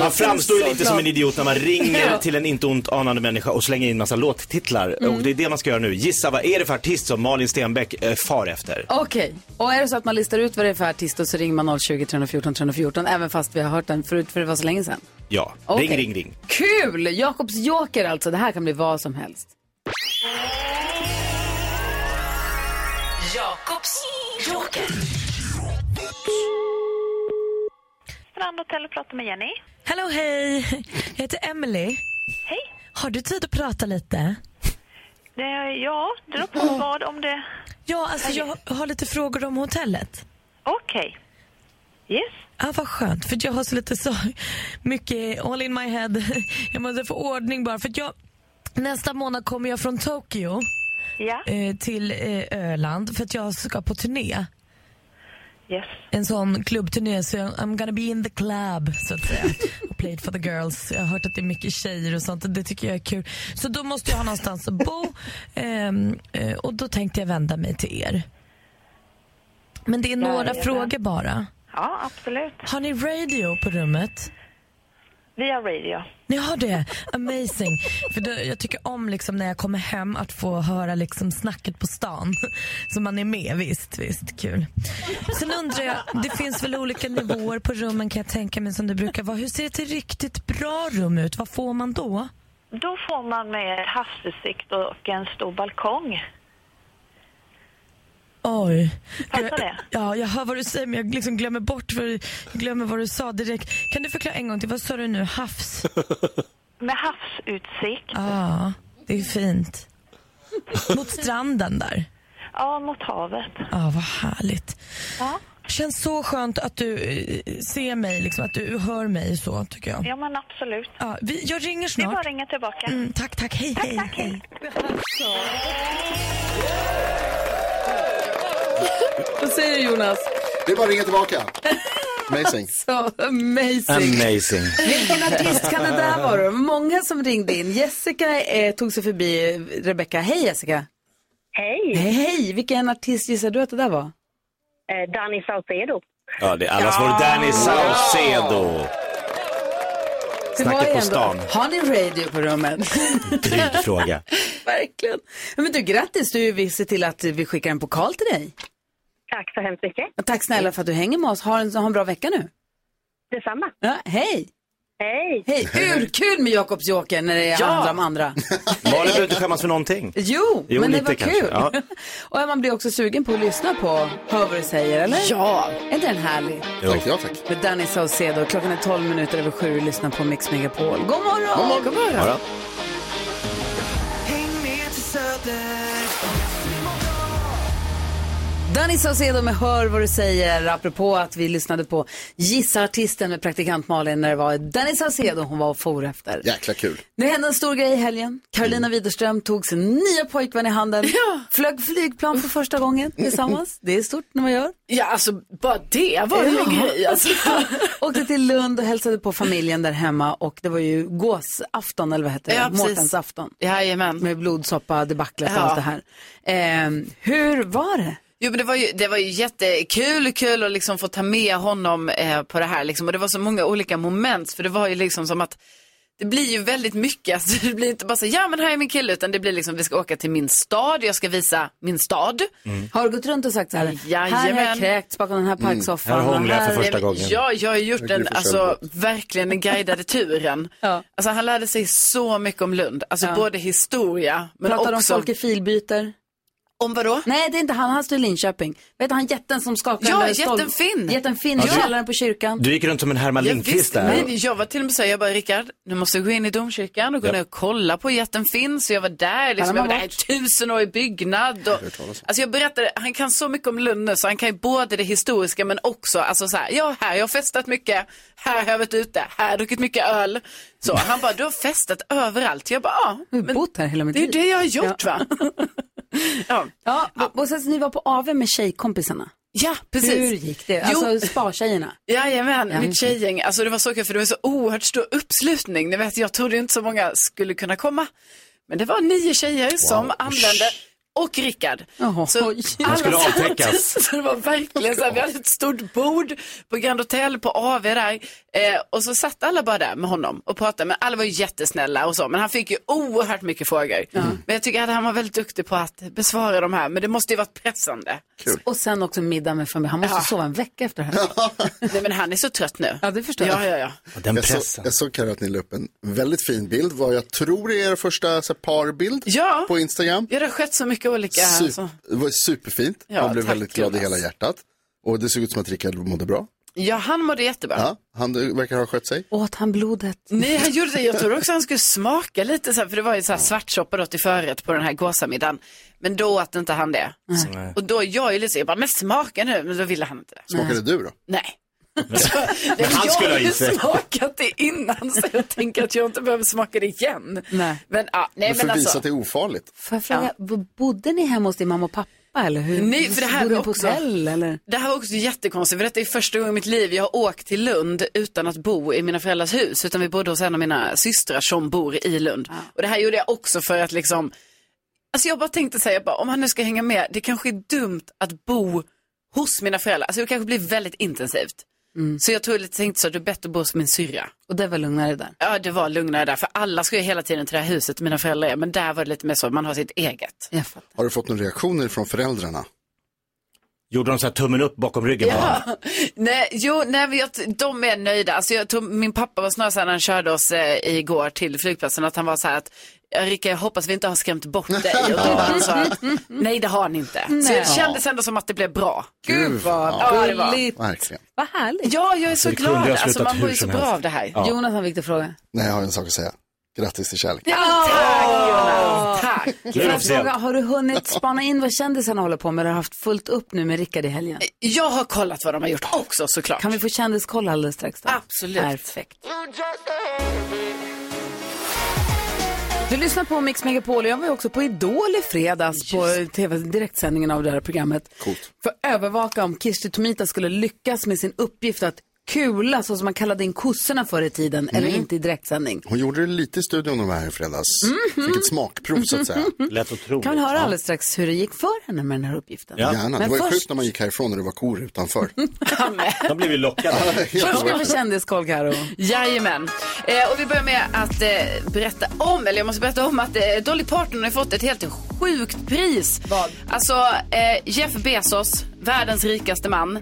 [SPEAKER 6] Man framstår ju lite som en idiot när man ringer
[SPEAKER 1] Ja.
[SPEAKER 6] till en inte ont anande människa och slänger in massa låttitlar. Och det är det man ska göra nu. Gissa vad är det för artist som Malin Stenbeck eh, far efter?
[SPEAKER 1] Okej, och är det så att man listar ut vad det är för artist och så ringer man 020 314 314 även fast vi har hört den förut för det var så länge sedan.
[SPEAKER 6] Ja,
[SPEAKER 1] Okej.
[SPEAKER 6] ring, ring, ring.
[SPEAKER 1] Kul! Jakobs joker alltså, det här kan bli vad som helst.
[SPEAKER 2] Jakobs joker.
[SPEAKER 12] Strandhotell och pratar med Jenny.
[SPEAKER 7] Hello, hej! Jag heter Emily.
[SPEAKER 12] Hej.
[SPEAKER 7] Har du tid att prata lite?
[SPEAKER 12] Det, ja, dra på vad om det...
[SPEAKER 7] Ja, alltså jag har lite frågor om hotellet.
[SPEAKER 12] Okej. Yes.
[SPEAKER 7] Ja, vad skönt, för jag har så lite så mycket all in my head. Jag måste få ordning bara, för att jag... Nästa månad kommer jag från Tokyo eh, till eh, Öland för att jag ska på turné.
[SPEAKER 12] Yes.
[SPEAKER 7] En sån klubbturné, så jag- I'm gonna be in the club, så att säga. och play it for the girls. Jag har hört att det är mycket tjejer och sånt, och det tycker jag är kul. Så då måste jag ha någonstans att bo ehm, eh, och då tänkte jag vända mig till er. Men det är några
[SPEAKER 12] Jajamän.
[SPEAKER 7] frågor bara.
[SPEAKER 12] Ja, absolut.
[SPEAKER 7] Har ni radio på rummet?
[SPEAKER 12] Via radio.
[SPEAKER 7] Ni har det? Amazing. För då, jag tycker om liksom när jag kommer hem att få höra liksom snacket på stan. Så man är med. Visst, visst. Kul. Sen undrar jag, det finns väl olika nivåer på rummen kan jag tänka mig som det brukar vara. Hur ser ett riktigt bra rum ut? Vad får man då?
[SPEAKER 12] Då får man med havsutsikt och en stor balkong.
[SPEAKER 7] Oj.
[SPEAKER 12] Passar
[SPEAKER 7] Jag-
[SPEAKER 12] det?
[SPEAKER 7] Ja, jag hör vad du säger men jag liksom glömmer bort vad du, jag glömmer vad du sa direkt. Kan du förklara en gång till, vad sa du nu? Havs?
[SPEAKER 12] Med havsutsikt.
[SPEAKER 7] Ja, det är fint. Mot stranden där.
[SPEAKER 12] Ja, mot havet.
[SPEAKER 7] Ja, vad härligt. Känns så skönt att du eh, ser mig, liksom, att du hör mig så, tycker jag.
[SPEAKER 12] Ja, men absolut.
[SPEAKER 7] Ja, vi, jag ringer
[SPEAKER 12] Det är bara
[SPEAKER 7] snart.
[SPEAKER 12] att ringa tillbaka.
[SPEAKER 7] Mm, tack, tack. Hej, hej, hej.
[SPEAKER 1] Vad säger du Jonas?
[SPEAKER 3] Det är bara att ringa tillbaka. Amazing.
[SPEAKER 1] Så amazing.
[SPEAKER 6] Amazing.
[SPEAKER 1] Vilken artist kan det där vara? Det var Många som ringde in. Jessica eh, tog sig förbi Rebecca. Hej Jessica!
[SPEAKER 13] Hej!
[SPEAKER 1] Hej, hej! Vilken artist gissar du att det där var?
[SPEAKER 13] Eh, Danny Saucedo.
[SPEAKER 6] Ja, det är allas vår Danny Saucedo.
[SPEAKER 1] Det var
[SPEAKER 6] Snacket
[SPEAKER 1] ju
[SPEAKER 6] på
[SPEAKER 1] ändå-
[SPEAKER 6] stan.
[SPEAKER 1] Har ni radio på rummet?
[SPEAKER 6] Dryg fråga.
[SPEAKER 1] Verkligen. Men du, grattis! Du, vi ser till att vi skickar en pokal till dig.
[SPEAKER 13] Tack så hemskt mycket.
[SPEAKER 1] Och Tack snälla för att du hänger med oss. Ha en, ha en bra vecka nu.
[SPEAKER 13] Detsamma.
[SPEAKER 1] Ja, hej!
[SPEAKER 13] Hej!
[SPEAKER 1] Hej! Urkul med Jakobs joker när det
[SPEAKER 6] Ja.
[SPEAKER 1] handlar om andra.
[SPEAKER 6] Malin behöver inte skämmas för någonting.
[SPEAKER 1] Jo,
[SPEAKER 6] Jo,
[SPEAKER 1] men det
[SPEAKER 6] lite
[SPEAKER 1] var
[SPEAKER 6] kanske,
[SPEAKER 1] kul.
[SPEAKER 6] ja.
[SPEAKER 1] och man blir också sugen på att lyssna på Hör vad du säger, eller?
[SPEAKER 8] Ja.
[SPEAKER 1] Är inte den härlig?
[SPEAKER 3] Tack, ja tack.
[SPEAKER 1] Med Danny Saucedo. Klockan är 12 minuter över sju. Lyssna på Mix Megapol. God morgon!
[SPEAKER 3] God morgon.
[SPEAKER 6] Bara.
[SPEAKER 14] Häng med till söder.
[SPEAKER 1] Danny Saucedo med Hör vad du säger, apropå att vi lyssnade på Gissa artisten med praktikant Malin när det var Danny Saucedo hon var och for efter.
[SPEAKER 3] Jäkla kul.
[SPEAKER 1] Det hände en stor grej i helgen.
[SPEAKER 4] Mm.
[SPEAKER 1] Carolina Widerström tog sin nya pojkvän i handen, flög flygplan för första gången tillsammans. Det är stort när man gör.
[SPEAKER 4] Ja, alltså bara det var en
[SPEAKER 1] Ja.
[SPEAKER 4] grej. Alltså.
[SPEAKER 1] Åkte till Lund och hälsade på familjen där hemma och det var ju gåsafton eller vad heter det?
[SPEAKER 4] Ja, precis.
[SPEAKER 1] Mårtensafton. Med blodsoppa, debaclet och
[SPEAKER 4] Ja.
[SPEAKER 1] allt det här. Ehm, hur var det?
[SPEAKER 4] Jo, men det, var ju, det var ju jättekul kul att liksom få ta med honom eh, på det här. Liksom. Och det var så många olika moment. För det var ju liksom som att det blir ju väldigt mycket. Alltså, det blir inte bara så ja men här är min kille, utan det blir liksom, vi ska åka till min stad, jag ska visa min stad.
[SPEAKER 6] Mm.
[SPEAKER 1] Har du gått runt och sagt så här, här har jag
[SPEAKER 4] Jajamän.
[SPEAKER 1] kräkts bakom den här parksoffan.
[SPEAKER 6] Här
[SPEAKER 1] och
[SPEAKER 6] hånglade jag för
[SPEAKER 1] här-
[SPEAKER 6] första gången.
[SPEAKER 4] Ja, jag har gjort
[SPEAKER 6] Jag
[SPEAKER 4] den,
[SPEAKER 6] blir
[SPEAKER 4] alltså verkligen den guidade turen. Alltså han lärde sig så mycket om Lund, alltså
[SPEAKER 1] Ja.
[SPEAKER 4] både historia men
[SPEAKER 1] Pratar
[SPEAKER 4] också...
[SPEAKER 1] om folk i filbyter.
[SPEAKER 4] Om vadå?
[SPEAKER 1] Nej, det är inte han. Han står i Linköping. Vet du, han jätten som skakar
[SPEAKER 4] Ja,
[SPEAKER 1] den där stol-
[SPEAKER 4] jätten Finn.
[SPEAKER 1] Jätten Finn i
[SPEAKER 6] Ja, du-
[SPEAKER 1] källaren på kyrkan.
[SPEAKER 6] Du gick runt som en Herman
[SPEAKER 4] Ja,
[SPEAKER 6] Lindqvist
[SPEAKER 4] visst,
[SPEAKER 6] där.
[SPEAKER 4] nej, nej, jag var till och med så här, jag bara Rickard, nu måste du gå in i domkyrkan och gå
[SPEAKER 6] Ja.
[SPEAKER 4] ner och kolla på jätten Finn. Så jag var där,
[SPEAKER 1] Kan
[SPEAKER 4] liksom, jag
[SPEAKER 1] man
[SPEAKER 4] var där i tusen år i byggnad. Och, alltså jag berättade, han kan så mycket om Lund nu så han kan ju både det historiska men också, alltså så här, ja här, jag har festat mycket, här har jag varit ute, här har jag druckit mycket öl. Så han bara, du har festat överallt. Jag bara, ja.
[SPEAKER 1] Du har bott här hela mitt
[SPEAKER 4] Det är
[SPEAKER 1] liv.
[SPEAKER 4] ju det jag har gjort va? ja.
[SPEAKER 1] Ja, och- och sen så ni var på AV med tjejkompisarna.
[SPEAKER 4] Ja, precis.
[SPEAKER 1] Hur gick det?
[SPEAKER 4] Jo.
[SPEAKER 1] Alltså spartjejerna.
[SPEAKER 4] Jajamän,
[SPEAKER 1] Ja,
[SPEAKER 4] mitt
[SPEAKER 1] just det.
[SPEAKER 4] tjejgäng. Alltså det var så kul för det var så oerhört stor uppslutning. Ni vet, jag trodde ju inte så många skulle kunna komma. Men det var nio tjejer som anlände och Rickard. Så alla
[SPEAKER 6] skulle
[SPEAKER 4] satt-
[SPEAKER 6] avtäckas.
[SPEAKER 4] Så det var verkligen så här, vi hade ett stort bord på Grand Hotel på AV där. Eh, och så satt alla bara där med honom och pratade. Men alla var ju jättesnälla och så. Men han fick ju oerhört mycket frågor. Mm. Men jag tycker att han var väldigt duktig på att besvara de här. Men det måste ju varit pressande.
[SPEAKER 1] Och sen också middag med familj. Han måste
[SPEAKER 4] Ja.
[SPEAKER 1] sova en vecka efter det här.
[SPEAKER 4] Nej men han är så trött nu.
[SPEAKER 1] Ja, det förstår
[SPEAKER 4] ja,
[SPEAKER 1] jag.
[SPEAKER 4] Ja, ja.
[SPEAKER 6] Den
[SPEAKER 3] jag, så,
[SPEAKER 6] pressen.
[SPEAKER 3] jag såg Carro att ni la upp en väldigt fin bild, vad jag tror är er första så här, parbild
[SPEAKER 4] ja.
[SPEAKER 3] på Instagram.
[SPEAKER 4] Ja, det har skett så mycket olika.
[SPEAKER 3] Super,
[SPEAKER 4] Alltså.
[SPEAKER 3] Det var superfint,
[SPEAKER 4] Ja,
[SPEAKER 3] man blev
[SPEAKER 4] tack,
[SPEAKER 3] väldigt glad i
[SPEAKER 4] Jonas.
[SPEAKER 3] hela hjärtat. Och det såg ut som att Rickard mådde bra.
[SPEAKER 4] Ja, han mådde jättebra.
[SPEAKER 3] Ja, han eh, verkar ha skött sig.
[SPEAKER 1] Åt han blodet?
[SPEAKER 4] Nej, han gjorde det. Jag tror också han skulle smaka lite så här, för det var ju så här svartsoppa då till förrätt på den här gåsamiddagen. Men då åt inte han det.
[SPEAKER 3] Nej.
[SPEAKER 4] Och då, jag är ju lite så, jag bara, men smaka nu. Men då ville han inte det.
[SPEAKER 3] Smakade du då?
[SPEAKER 4] Nej.
[SPEAKER 3] Men
[SPEAKER 4] Nej,
[SPEAKER 3] han
[SPEAKER 4] jag
[SPEAKER 3] skulle
[SPEAKER 4] har
[SPEAKER 3] ha
[SPEAKER 4] ju
[SPEAKER 3] i sig.
[SPEAKER 4] smakat det innan så jag tänker att jag inte behöver smaka det igen. Nej. Men, ja, nej,
[SPEAKER 3] Men
[SPEAKER 4] men,
[SPEAKER 3] för att visa
[SPEAKER 4] alltså.
[SPEAKER 3] att det är ofarligt.
[SPEAKER 1] Får jag fråga, bo- bodde ni hemma hos din mamma och pappa eller hur?
[SPEAKER 4] Nej, för det här
[SPEAKER 1] bodde
[SPEAKER 4] var
[SPEAKER 1] ni på
[SPEAKER 4] också-
[SPEAKER 1] hotell eller?
[SPEAKER 4] Det här var också jättekonstigt, för detta är första gången i mitt liv jag har åkt till Lund utan att bo i mina föräldrars hus, utan vi bodde hos en av mina systrar som bor i Lund. Och det här gjorde jag också för att liksom, alltså jag bara tänkte säga, bara, om han nu ska hänga med, det kanske är dumt att bo hos mina föräldrar, alltså det kanske blir väldigt intensivt. Så jag tror lite tänkte så, det är bättre att bo hos min syrra.
[SPEAKER 1] Och det var lugnare där.
[SPEAKER 4] Ja, det var lugnare där, för alla ska ju hela tiden till det här huset mina föräldrar är, men där var det lite mer så, man har sitt eget.
[SPEAKER 3] Har du fått några reaktioner från föräldrarna?
[SPEAKER 6] Gjorde de så här tummen upp bakom ryggen på honom?
[SPEAKER 4] Nej, jo, nej, men jag, de är nöjda. Alltså, jag tror, min pappa var snarare så här när han körde oss eh, igår till flygplatsen att han var så här att Rika, jag hoppas vi inte har skrämt bort dig. Och då var han så här, nej, det har ni inte. Så
[SPEAKER 1] Nej.
[SPEAKER 4] det kändes ändå som att det blev bra.
[SPEAKER 1] Gud vad
[SPEAKER 4] Ja, det var.
[SPEAKER 1] gulligt.
[SPEAKER 3] Verkligen.
[SPEAKER 1] Vad härligt.
[SPEAKER 4] Ja, jag är så
[SPEAKER 3] Det kunde glad. jag ha Alltså,
[SPEAKER 4] Alltså,
[SPEAKER 3] slutat
[SPEAKER 4] man mår
[SPEAKER 3] hur
[SPEAKER 4] ju så
[SPEAKER 3] som
[SPEAKER 4] bra
[SPEAKER 3] helst.
[SPEAKER 4] av det här.
[SPEAKER 3] Ja.
[SPEAKER 1] Jonas har en viktig fråga.
[SPEAKER 3] Nej, jag har en sak att säga. Grattis till kärleken.
[SPEAKER 4] Ja, tack Jonas. Tack.
[SPEAKER 1] Får jag
[SPEAKER 3] officiellt.
[SPEAKER 1] fråga, har du hunnit spana in vad kändisarna håller på med eller har haft fullt upp nu med Rickard i helgen?
[SPEAKER 4] Jag har kollat vad de har gjort också såklart.
[SPEAKER 1] Kan vi få kändiskoll alldeles strax då?
[SPEAKER 4] Absolut.
[SPEAKER 1] Perfekt. Du lyssnar på Mix Megapol och jag var ju också på Idol i fredags på TV, direktsändningen av det här programmet. För att övervaka om Kirsti Tomita skulle lyckas med sin uppgift att kula så som man kallade in kossorna förr i tiden eller inte i direktsändning.
[SPEAKER 3] Hon gjorde det lite i studion de här i fredags. Fick ett smakprov så att säga.
[SPEAKER 6] Lätt Mhm. otroligt.
[SPEAKER 1] Kan vi höra alldeles strax hur det gick för henne med den här uppgiften?
[SPEAKER 3] Ja. Gärna. Det
[SPEAKER 1] Men
[SPEAKER 3] var ju
[SPEAKER 1] först,
[SPEAKER 3] sjukt när man gick härifrån när det var kor utanför.
[SPEAKER 6] De blev ju lockade.
[SPEAKER 1] först ska vi få kändiskoll Karo.
[SPEAKER 4] Jajamän. Eh, och vi börjar med att eh, berätta om, eller jag måste berätta om att eh, Dolly Parton har fått ett helt sjukt pris. Vad? Alltså, eh, Jeff Bezos, världens rikaste man,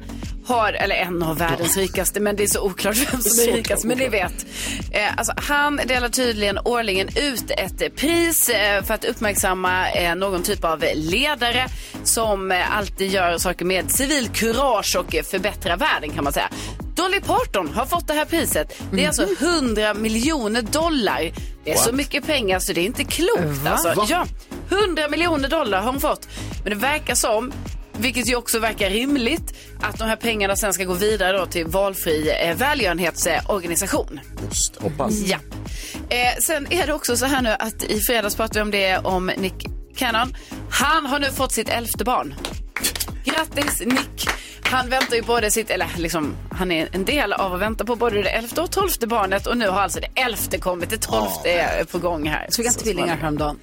[SPEAKER 4] har, eller en av världens rikaste, men det är så oklart vem som är
[SPEAKER 2] Så
[SPEAKER 4] rikast, men ni vet. Eh, alltså, han delar tydligen årligen ut ett eh, pris eh, för att uppmärksamma eh, någon typ av ledare som eh, alltid gör saker med civil kurage och eh, förbättrar världen kan man säga. Dolly Parton har fått det här priset. Det är alltså 100 miljoner dollar. Det är så
[SPEAKER 2] What?
[SPEAKER 4] mycket pengar så det är inte klokt.
[SPEAKER 2] Va?
[SPEAKER 4] Alltså,
[SPEAKER 2] Va?
[SPEAKER 4] ja, 100 miljoner dollar har hon fått. Men det verkar som, vilket ju också verkar rimligt, att de här pengarna sen ska gå vidare då till valfri eh, välgörenhetsorganisation.
[SPEAKER 3] Just,
[SPEAKER 6] hoppas.
[SPEAKER 4] Ja. Eh, sen är det också så här nu att i fredags pratade vi om det om Nick Cannon. Han har nu fått sitt elfte barn. Grattis Nick! Han väntar ju både sitt, eller liksom, han är en del av att vänta på både det elfte och tolfte barnet och nu har alltså det elfte kommit, det tolfte är på gång här.
[SPEAKER 1] Så vi fick han tvillingar häromdagen.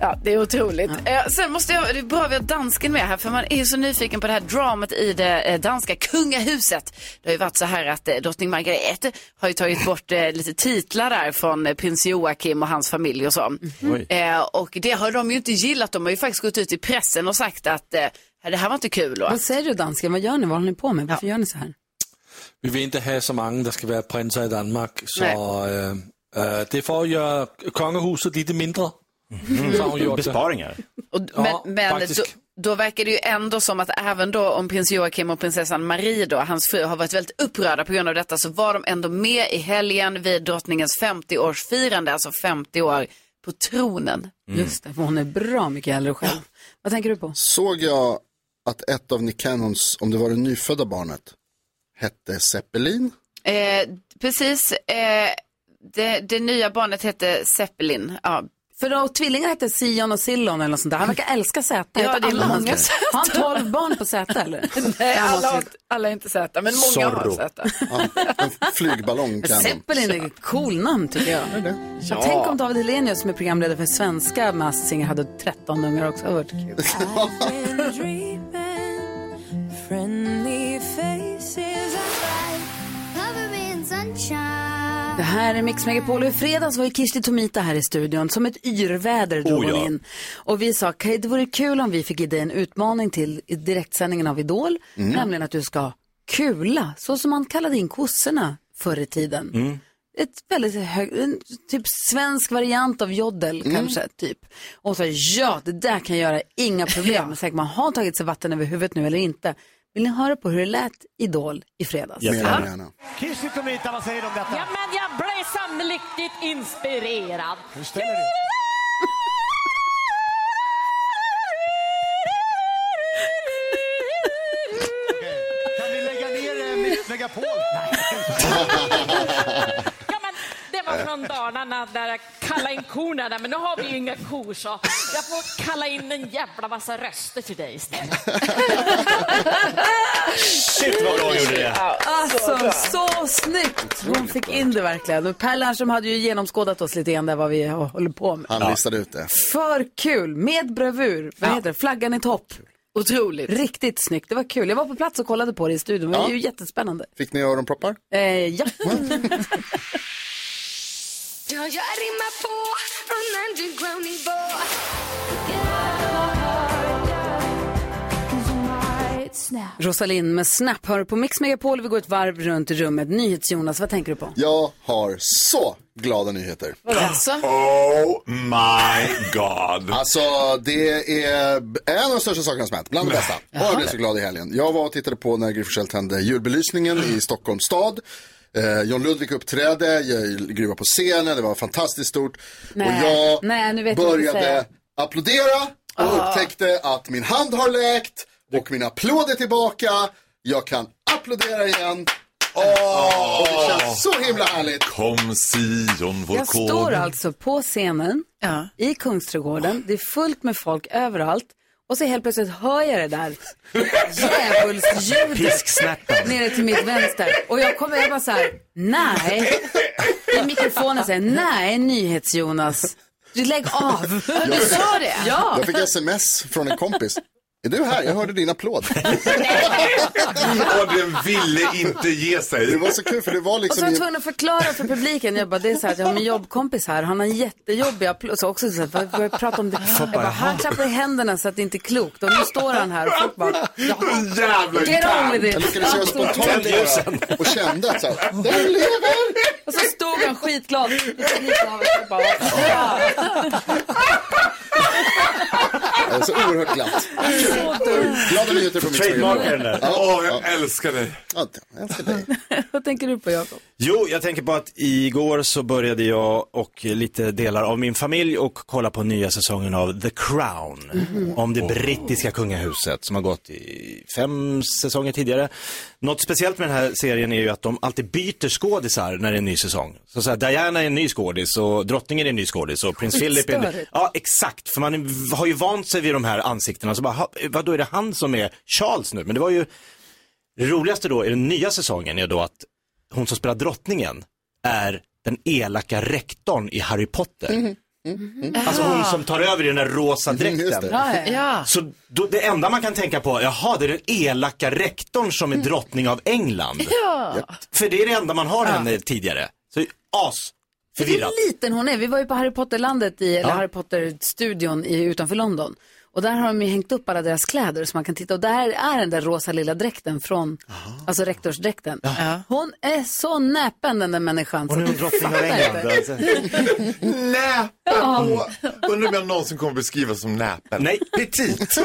[SPEAKER 4] Ja, det är otroligt. Eh, sen måste jag, det är bra vi har dansken med här, för man är ju så nyfiken på det här dramat i det eh, danska kungahuset. Det har ju varit så här att eh, drottning Margrethe har ju tagit bort eh, lite titlar där från eh, prins Joakim och hans familj och så.
[SPEAKER 15] Oj.
[SPEAKER 4] Eh, och det har de ju inte gillat. De har ju faktiskt gått ut i pressen och sagt att eh, det här var inte kul. Och
[SPEAKER 1] Vad säger du dansken? Vad gör ni? Vad håller ni på med? Varför gör ni så här?
[SPEAKER 9] Vi vil ikke have så mange, der skal være prinser i Danmark, så
[SPEAKER 4] Nej.
[SPEAKER 9] øh, øh, det er for at gøre kongehuset lidt mindre.
[SPEAKER 6] Mhm.
[SPEAKER 9] Mm.
[SPEAKER 6] Besparingar.
[SPEAKER 4] Och,
[SPEAKER 9] Ja,
[SPEAKER 4] men men
[SPEAKER 9] faktiskt.
[SPEAKER 4] då, då verkar det ju ändå som att även då om prins Joakim och prinsessan Marie då, hans fru, har varit väldigt upprörda på grund av detta så var de ändå med i helgen vid drottningens 50-årsfirande, alltså 50 år på tronen.
[SPEAKER 1] Just det, för hon är bra mycket äldre själv. Vad tänker du på?
[SPEAKER 3] Såg jag att ett av Nick Cannons, om det var det nyfödda barnet, hette Zeppelin?
[SPEAKER 4] Eh, precis, eh, det, det nya barnet hette Zeppelin. Ja.
[SPEAKER 1] För då tvillingar hette Sion och Sillon eller något sånt där. Han verkar älska Z. Jag
[SPEAKER 4] Ja,
[SPEAKER 1] tar
[SPEAKER 4] det är
[SPEAKER 1] alla hans
[SPEAKER 4] många
[SPEAKER 1] grejer.
[SPEAKER 4] Z.
[SPEAKER 1] Har han tolv barn på Z eller?
[SPEAKER 4] Nej,
[SPEAKER 1] Han har
[SPEAKER 4] alla, har,
[SPEAKER 1] tydligen-
[SPEAKER 4] alla är inte söta, men många har
[SPEAKER 1] Zorro.
[SPEAKER 4] söta.
[SPEAKER 3] Flygballong kan
[SPEAKER 1] Zeppelin är ett cool namn tycker jag.
[SPEAKER 4] Ja.
[SPEAKER 1] Tänk om David Hellenius som är programledare för svenska Masked Singer hade 13 ungar också. Det hade varit kul.
[SPEAKER 10] Friendly faces Cover me in sunshine
[SPEAKER 1] Det här är Mix Megapol och i fredags var ju Kirsti Tomita här i studion. Som ett yrväder drog
[SPEAKER 10] Oh, ja.
[SPEAKER 1] hon in. Och vi sa, "Kaj, det vore kul om vi fick ge dig en utmaning till i direktsändningen av Idol.
[SPEAKER 10] Mm.
[SPEAKER 1] Nämligen att du ska kula, så som man kallade in kossorna förr i tiden. Ett väldigt hög, en typ svensk variant av joddel
[SPEAKER 10] Mm.
[SPEAKER 1] kanske, typ. Och så ja, det där kan jag göra, inga problem. Men säkert man har tagit sig vatten över huvudet nu eller inte. Vill ni höra på hur det lät Idol i fredags?
[SPEAKER 16] Kirsti Tomita, vad säger du om detta?
[SPEAKER 17] Ja, men jag blev sannolikt inspirerad.
[SPEAKER 16] Hur ställer du? Okej. Kan vi lägga ner eh, Mix Megapol?
[SPEAKER 17] Det var från Dalarna där jag kallade in korna där, men nu har vi ju inga kor så jag får kalla in en jävla massa röster till dig istället.
[SPEAKER 6] Shit vad bra hon gjorde det.
[SPEAKER 1] Alltså, så snyggt! Hon fick in det verkligen. Och Per Lernström hade ju genomskådat oss lite grann där vad vi håller på med.
[SPEAKER 3] Han listade ut det.
[SPEAKER 1] För kul, med bravur. Vad heter det? Flaggan i topp.
[SPEAKER 4] Otroligt.
[SPEAKER 1] Riktigt snyggt, det var kul. Jag var på plats och kollade på det i studion, det var
[SPEAKER 3] Ja.
[SPEAKER 1] ju jättespännande.
[SPEAKER 3] Fick ni öronproppar?
[SPEAKER 1] Eh, ja.
[SPEAKER 10] Ja, jag rimmar på från underground nivå
[SPEAKER 1] Rosalind med Snap hör du på Mix Megapol. Vi går ett varv runt i rummet. NyhetsJonas, vad tänker du på?
[SPEAKER 3] Jag har så glada nyheter.
[SPEAKER 1] alltså?
[SPEAKER 18] Oh my god.
[SPEAKER 3] Alltså det är en av de största sakerna som hänt, bland de bästa. Och jag blev så glad i helgen. Jag var och tittade på när Gry Forssell tände julbelysningen i Stockholms stad. Eh, John Ludvig uppträdde, jag- Gry var på scenen, det var fantastiskt stort. Och jag
[SPEAKER 1] Nej, nu vet jag vad du säger. Ah.
[SPEAKER 3] började applådera och upptäckte att min hand har läkt och min applåd är tillbaka. Jag kan applådera igen.
[SPEAKER 18] Ah.
[SPEAKER 3] Åh, och det känns så himla härligt.
[SPEAKER 18] Kom Sion, vår
[SPEAKER 1] Jag
[SPEAKER 18] konung.
[SPEAKER 1] står alltså på scenen i Kungsträdgården. Det är fullt med folk överallt. Och så helt plötsligt hör jag det där djävulsljudet
[SPEAKER 10] Pisksnärtan.
[SPEAKER 1] nere till mitt vänster. Och jag kommer, jag bara så här, nej. I mikrofonen säger, nej, NyhetsJonas. Du lägg av.
[SPEAKER 3] Jag-
[SPEAKER 1] Du sa det? Ja.
[SPEAKER 3] Jag fick sms från en kompis. Är du här? Jag hörde din applåd.
[SPEAKER 18] Och den ville inte ge sig.
[SPEAKER 3] Det var så kul för det var
[SPEAKER 1] Och så
[SPEAKER 3] liksom...
[SPEAKER 1] var jag
[SPEAKER 3] i-
[SPEAKER 1] tvungen att förklara för publiken. Jag bara, det är så här att jag har min jobbkompis här. Han har en jättejobbig applåd. Så också så här, vad, vad pratar om det? Jag bara, han klappar i händerna så att det inte är klokt. Och nu står han här och folk bara, ja.
[SPEAKER 10] Jävla
[SPEAKER 1] Get on with it. Alltså,
[SPEAKER 3] Jag lyckades göra spontant
[SPEAKER 1] Tänd
[SPEAKER 3] bara, och kände att så här, den lever!
[SPEAKER 1] Och så stod han skitglad. i publikhavet och bara, ja.
[SPEAKER 3] Jag är så oerhört glatt. Glada nyheter på mitt
[SPEAKER 6] Trademarkar den där.
[SPEAKER 3] Ja.
[SPEAKER 18] Åh, jag älskar dig.
[SPEAKER 1] Vad tänker du på Jakob?
[SPEAKER 6] Jo, jag tänker på att igår så började jag och lite delar av min familj och kolla på nya säsongen av The Crown.
[SPEAKER 14] Mhm.
[SPEAKER 6] Om det brittiska kungahuset som har gått i fem säsonger tidigare. Något speciellt med den här serien är ju att de alltid byter skådisar när det är en ny säsong. Så, så här, Diana är en ny skådis och drottningen är en ny skådis och prins Philip är en ny.
[SPEAKER 14] Skitstörigt.
[SPEAKER 6] Ja, exakt. För man är- har ju vant sig vid de här ansiktena. Så bara, "Ha, vadå är det han som är Charles nu? Men det var ju det roligaste då i den nya säsongen är då att
[SPEAKER 4] Mm.
[SPEAKER 6] hon som spelar drottningen är den elaka rektorn i Harry Potter. Alltså
[SPEAKER 4] Ah.
[SPEAKER 6] hon som tar över i den där rosa dräkten.
[SPEAKER 4] Ja.
[SPEAKER 6] Så då, det enda man kan tänka på, jaha, det är den elaka rektorn som är
[SPEAKER 4] Mm.
[SPEAKER 6] drottning av England.
[SPEAKER 1] Ja.
[SPEAKER 6] För det är det enda man har henne tidigare. Så as förvirrat.
[SPEAKER 1] Hur liten hon är. Vi var ju på Harry Potter-landet, i, eller
[SPEAKER 6] Ja.
[SPEAKER 1] Harry Potter-studion i, utanför London. Och där har de ju hängt upp alla deras kläder så man kan titta. Och där är den där rosa lilla dräkten från, alltså rektorsdräkten. Hon är så näpen den där människan. Hon
[SPEAKER 18] är drottning av England, alltså.
[SPEAKER 1] Ja.
[SPEAKER 18] Åh, Undrar om jag någonsin kommer beskrivas som näpen.
[SPEAKER 6] Nej.
[SPEAKER 18] Petit.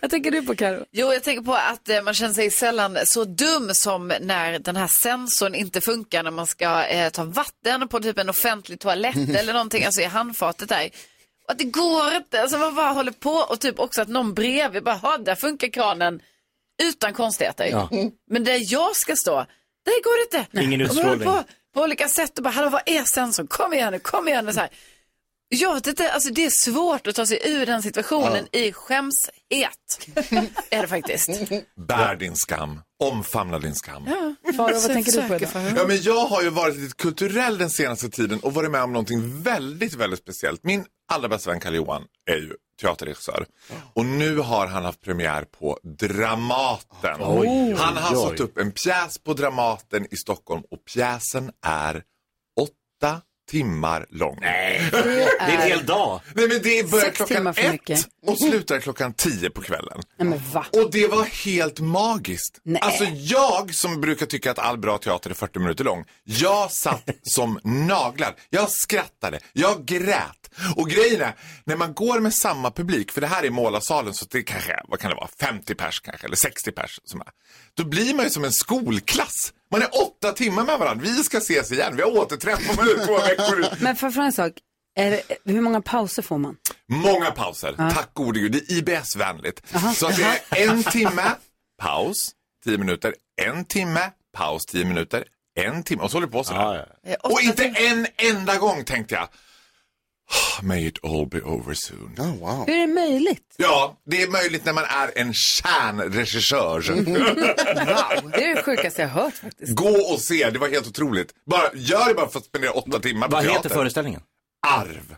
[SPEAKER 1] Vad tänker du på Karo?
[SPEAKER 15] Jo, jag tänker på att eh, man känner sig sällan så dum som när den här sensorn inte funkar när man ska eh, ta vatten på typ en offentlig toalett eller någonting, alltså i handfatet där. Och att det går inte, alltså man bara håller på och typ också att någon bredvid bara, "Ha, där funkar kranen utan konstigheter. Mm.
[SPEAKER 6] Ja.
[SPEAKER 15] Men där jag ska stå, där går det inte.
[SPEAKER 6] Ingen
[SPEAKER 15] Och man håller
[SPEAKER 6] utstrålning.
[SPEAKER 15] På, på olika sätt och bara, hallå vad är sensorn? Kom igen nu, kom igen nu så här. Jag vet inte, alltså det är svårt att ta sig ur den situationen i skämshet. är det faktiskt.
[SPEAKER 18] Bär din skam. Omfamna din skam.
[SPEAKER 1] Faro, vad tänker du på idag?
[SPEAKER 18] Ja, men jag har ju varit lite kulturell den senaste tiden och varit med om någonting väldigt, väldigt speciellt. Min allra bästa vän Karl Johan är ju teaterregissör och nu har han haft premiär på Dramaten.
[SPEAKER 9] Oj, oj,
[SPEAKER 18] han har
[SPEAKER 9] oj.
[SPEAKER 18] satt upp en pjäs på Dramaten i Stockholm och pjäsen är åtta timmar lång. Nej,
[SPEAKER 6] det är en hel dag.
[SPEAKER 18] Nej, men det börjar
[SPEAKER 1] Sex
[SPEAKER 18] klockan
[SPEAKER 1] timmar för mycket.
[SPEAKER 18] ett och slutar klockan tio på kvällen.
[SPEAKER 1] Nej, men va?
[SPEAKER 18] Och det var helt magiskt.
[SPEAKER 1] Nej.
[SPEAKER 18] Alltså jag som brukar tycka att all bra teater är 40 minuter lång. Jag satt som naglad. Jag skrattade. Jag grät. Och grejen är, när man går med samma publik, för det här är målarsalen så det kanske, är- vad kan det vara, 50 pers kanske eller 60 pers som är. Då blir man ju som en skolklass. Man är åtta timmar med varandra. Vi ska ses igen. Vi har återträff om två veckor.
[SPEAKER 1] Men för, för en sak, är det, hur många pauser får man?
[SPEAKER 18] Många pauser, tack gode gud. Det är IBS-vänligt. Så att det är en timme, paus, tio minuter, en timme, paus, tio minuter, en timme. Och så håller det på sådär. Och inte en enda gång tänkte jag, "Ah, may it all be over soon.
[SPEAKER 6] Oh,
[SPEAKER 1] Hur är det möjligt?
[SPEAKER 18] Ja, det är möjligt när man är en stjärnregissör.
[SPEAKER 1] Wow, det är det sjukaste jag hört faktiskt.
[SPEAKER 18] Gå och se, det var helt otroligt. Bara, gör det bara för att spendera åtta timmar på
[SPEAKER 6] Vad
[SPEAKER 18] teater.
[SPEAKER 6] heter föreställningen?
[SPEAKER 18] Arv.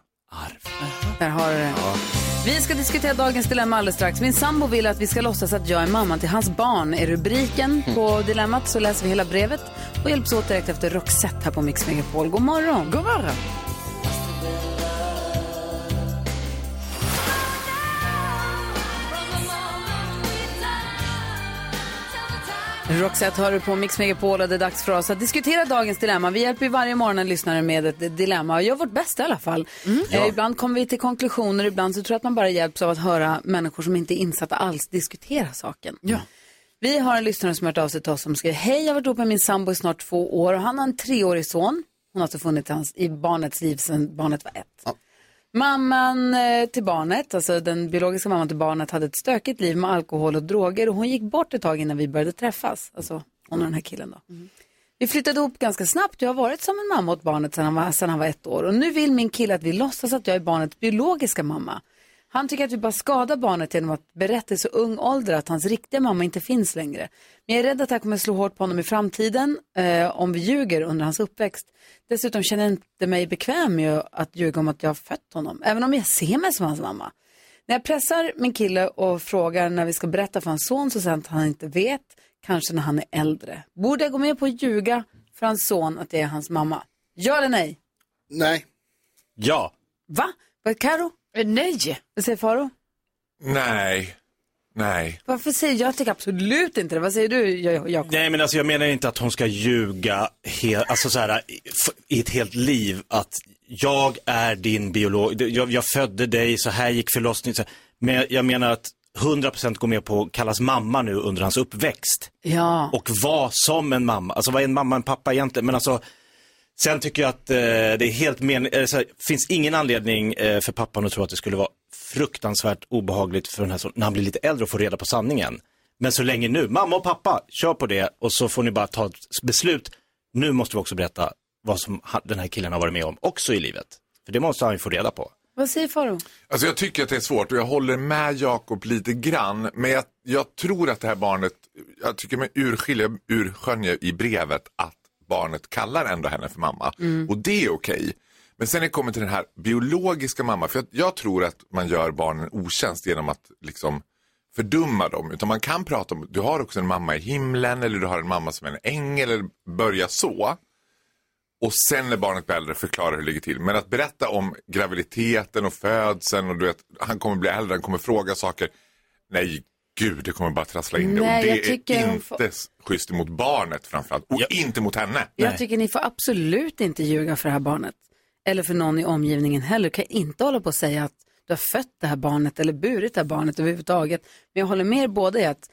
[SPEAKER 1] Där har du det. Vi ska diskutera dagens dilemma alldeles strax. Min sambo vill att vi ska låtsas att jag är mamman till hans barn. är rubriken på dilemmat så läser vi hela brevet och hjälps åt direkt efter Roxette här på Mix Megapol. God morgon! God morgon! Roxette hör du på Mix Megapol och det är dags för oss att diskutera dagens dilemma. Vi hjälper ju varje morgon en lyssnare med ett dilemma och gör vårt bästa i alla fall. Eh, ibland kommer vi till konklusioner, ibland så tror jag att man bara hjälps av att höra människor som inte är insatta alls diskutera saken. Vi har en lyssnare som har hört av sig till oss som skriver Hej, jag har varit ihop med min sambo i snart två år och han har en treårig son. Hon har alltså funnits i hans- i barnets liv sedan barnet var ett. Mamman eh, till barnet, alltså den biologiska mamman till barnet, hade ett stökigt liv med alkohol och droger och hon gick bort ett tag innan vi började träffas. Alltså hon och den här killen då. Vi flyttade ihop ganska snabbt. Jag har varit som en mamma åt barnet sedan han, var, sedan han var ett år. Och nu vill min kille att vi låtsas att jag är barnets biologiska mamma. Han tycker att vi bara skadar barnet genom att berätta i så ung ålder att hans riktiga mamma inte finns längre. Men jag är rädd att det här kommer slå hårt på honom i framtiden eh, om vi ljuger under hans uppväxt. Dessutom känner jag inte mig bekväm med att ljuga om att jag har fött honom, även om jag ser mig som hans mamma. När jag pressar min kille och frågar när vi ska berätta för hans son så säger han att han inte vet, kanske när han är äldre. Borde jag gå med på att ljuga för hans son att det är hans mamma? Ja eller nej?
[SPEAKER 3] Nej.
[SPEAKER 6] Ja.
[SPEAKER 1] Va? Vad Karo?
[SPEAKER 15] Nej.
[SPEAKER 1] Vad säger Faro?
[SPEAKER 18] Nej, nej.
[SPEAKER 1] Varför säger jag? Jag tycker absolut inte det. Vad säger du, Ja- Jakob?
[SPEAKER 6] Nej men alltså jag menar inte att hon ska ljuga he- alltså, så här, i- f- i ett helt liv att jag är din biolog, jag, jag födde dig, så här gick förlossningen. så- Men jag- jag menar att 100% går med på att kallas mamma nu under hans uppväxt.
[SPEAKER 1] Ja.
[SPEAKER 6] Och vara som en mamma, alltså vad är en mamma och en pappa egentligen? Men alltså Sen tycker jag att eh, det är helt men... eh, så här, finns ingen anledning eh, för pappan att tro att det skulle vara fruktansvärt obehagligt för den här sonen när han blir lite äldre och får reda på sanningen. Men så länge nu, mamma och pappa, kör på det och så får ni bara ta ett beslut. Nu måste vi också berätta vad som ha- den här killen har varit med om också i livet. För det måste han ju få reda på.
[SPEAKER 1] Vad säger Faro?
[SPEAKER 18] Alltså jag tycker att det är svårt och jag håller med Jakob lite grann. Men jag, jag tror att det här barnet, jag tycker mig urskilja, urskönja i brevet att barnet kallar ändå henne för mamma. Och det är okej. Men sen när det kommer till den här biologiska mamma, för jag, jag tror att man gör barnen otjänst genom att liksom fördumma dem. Utan man kan prata om, du har också en mamma i himlen eller du har en mamma som är en ängel eller börja så. Och sen när barnet blir äldre förklara hur det ligger till. Men att berätta om graviditeten och födseln och du vet, han kommer bli äldre, han kommer fråga saker. Nej, gud, det kommer bara trassla in det.
[SPEAKER 1] Nej,
[SPEAKER 18] och
[SPEAKER 1] jag
[SPEAKER 18] det
[SPEAKER 1] tycker
[SPEAKER 18] är
[SPEAKER 1] hon
[SPEAKER 18] inte
[SPEAKER 1] får-
[SPEAKER 18] s- schysst mot barnet framförallt. Och inte mot henne.
[SPEAKER 1] Jag tycker ni får absolut inte ljuga för det här barnet. Eller för någon i omgivningen heller. Du kan inte hålla på och säga att du har fött det här barnet eller burit det här barnet överhuvudtaget. Men jag håller med er båda i att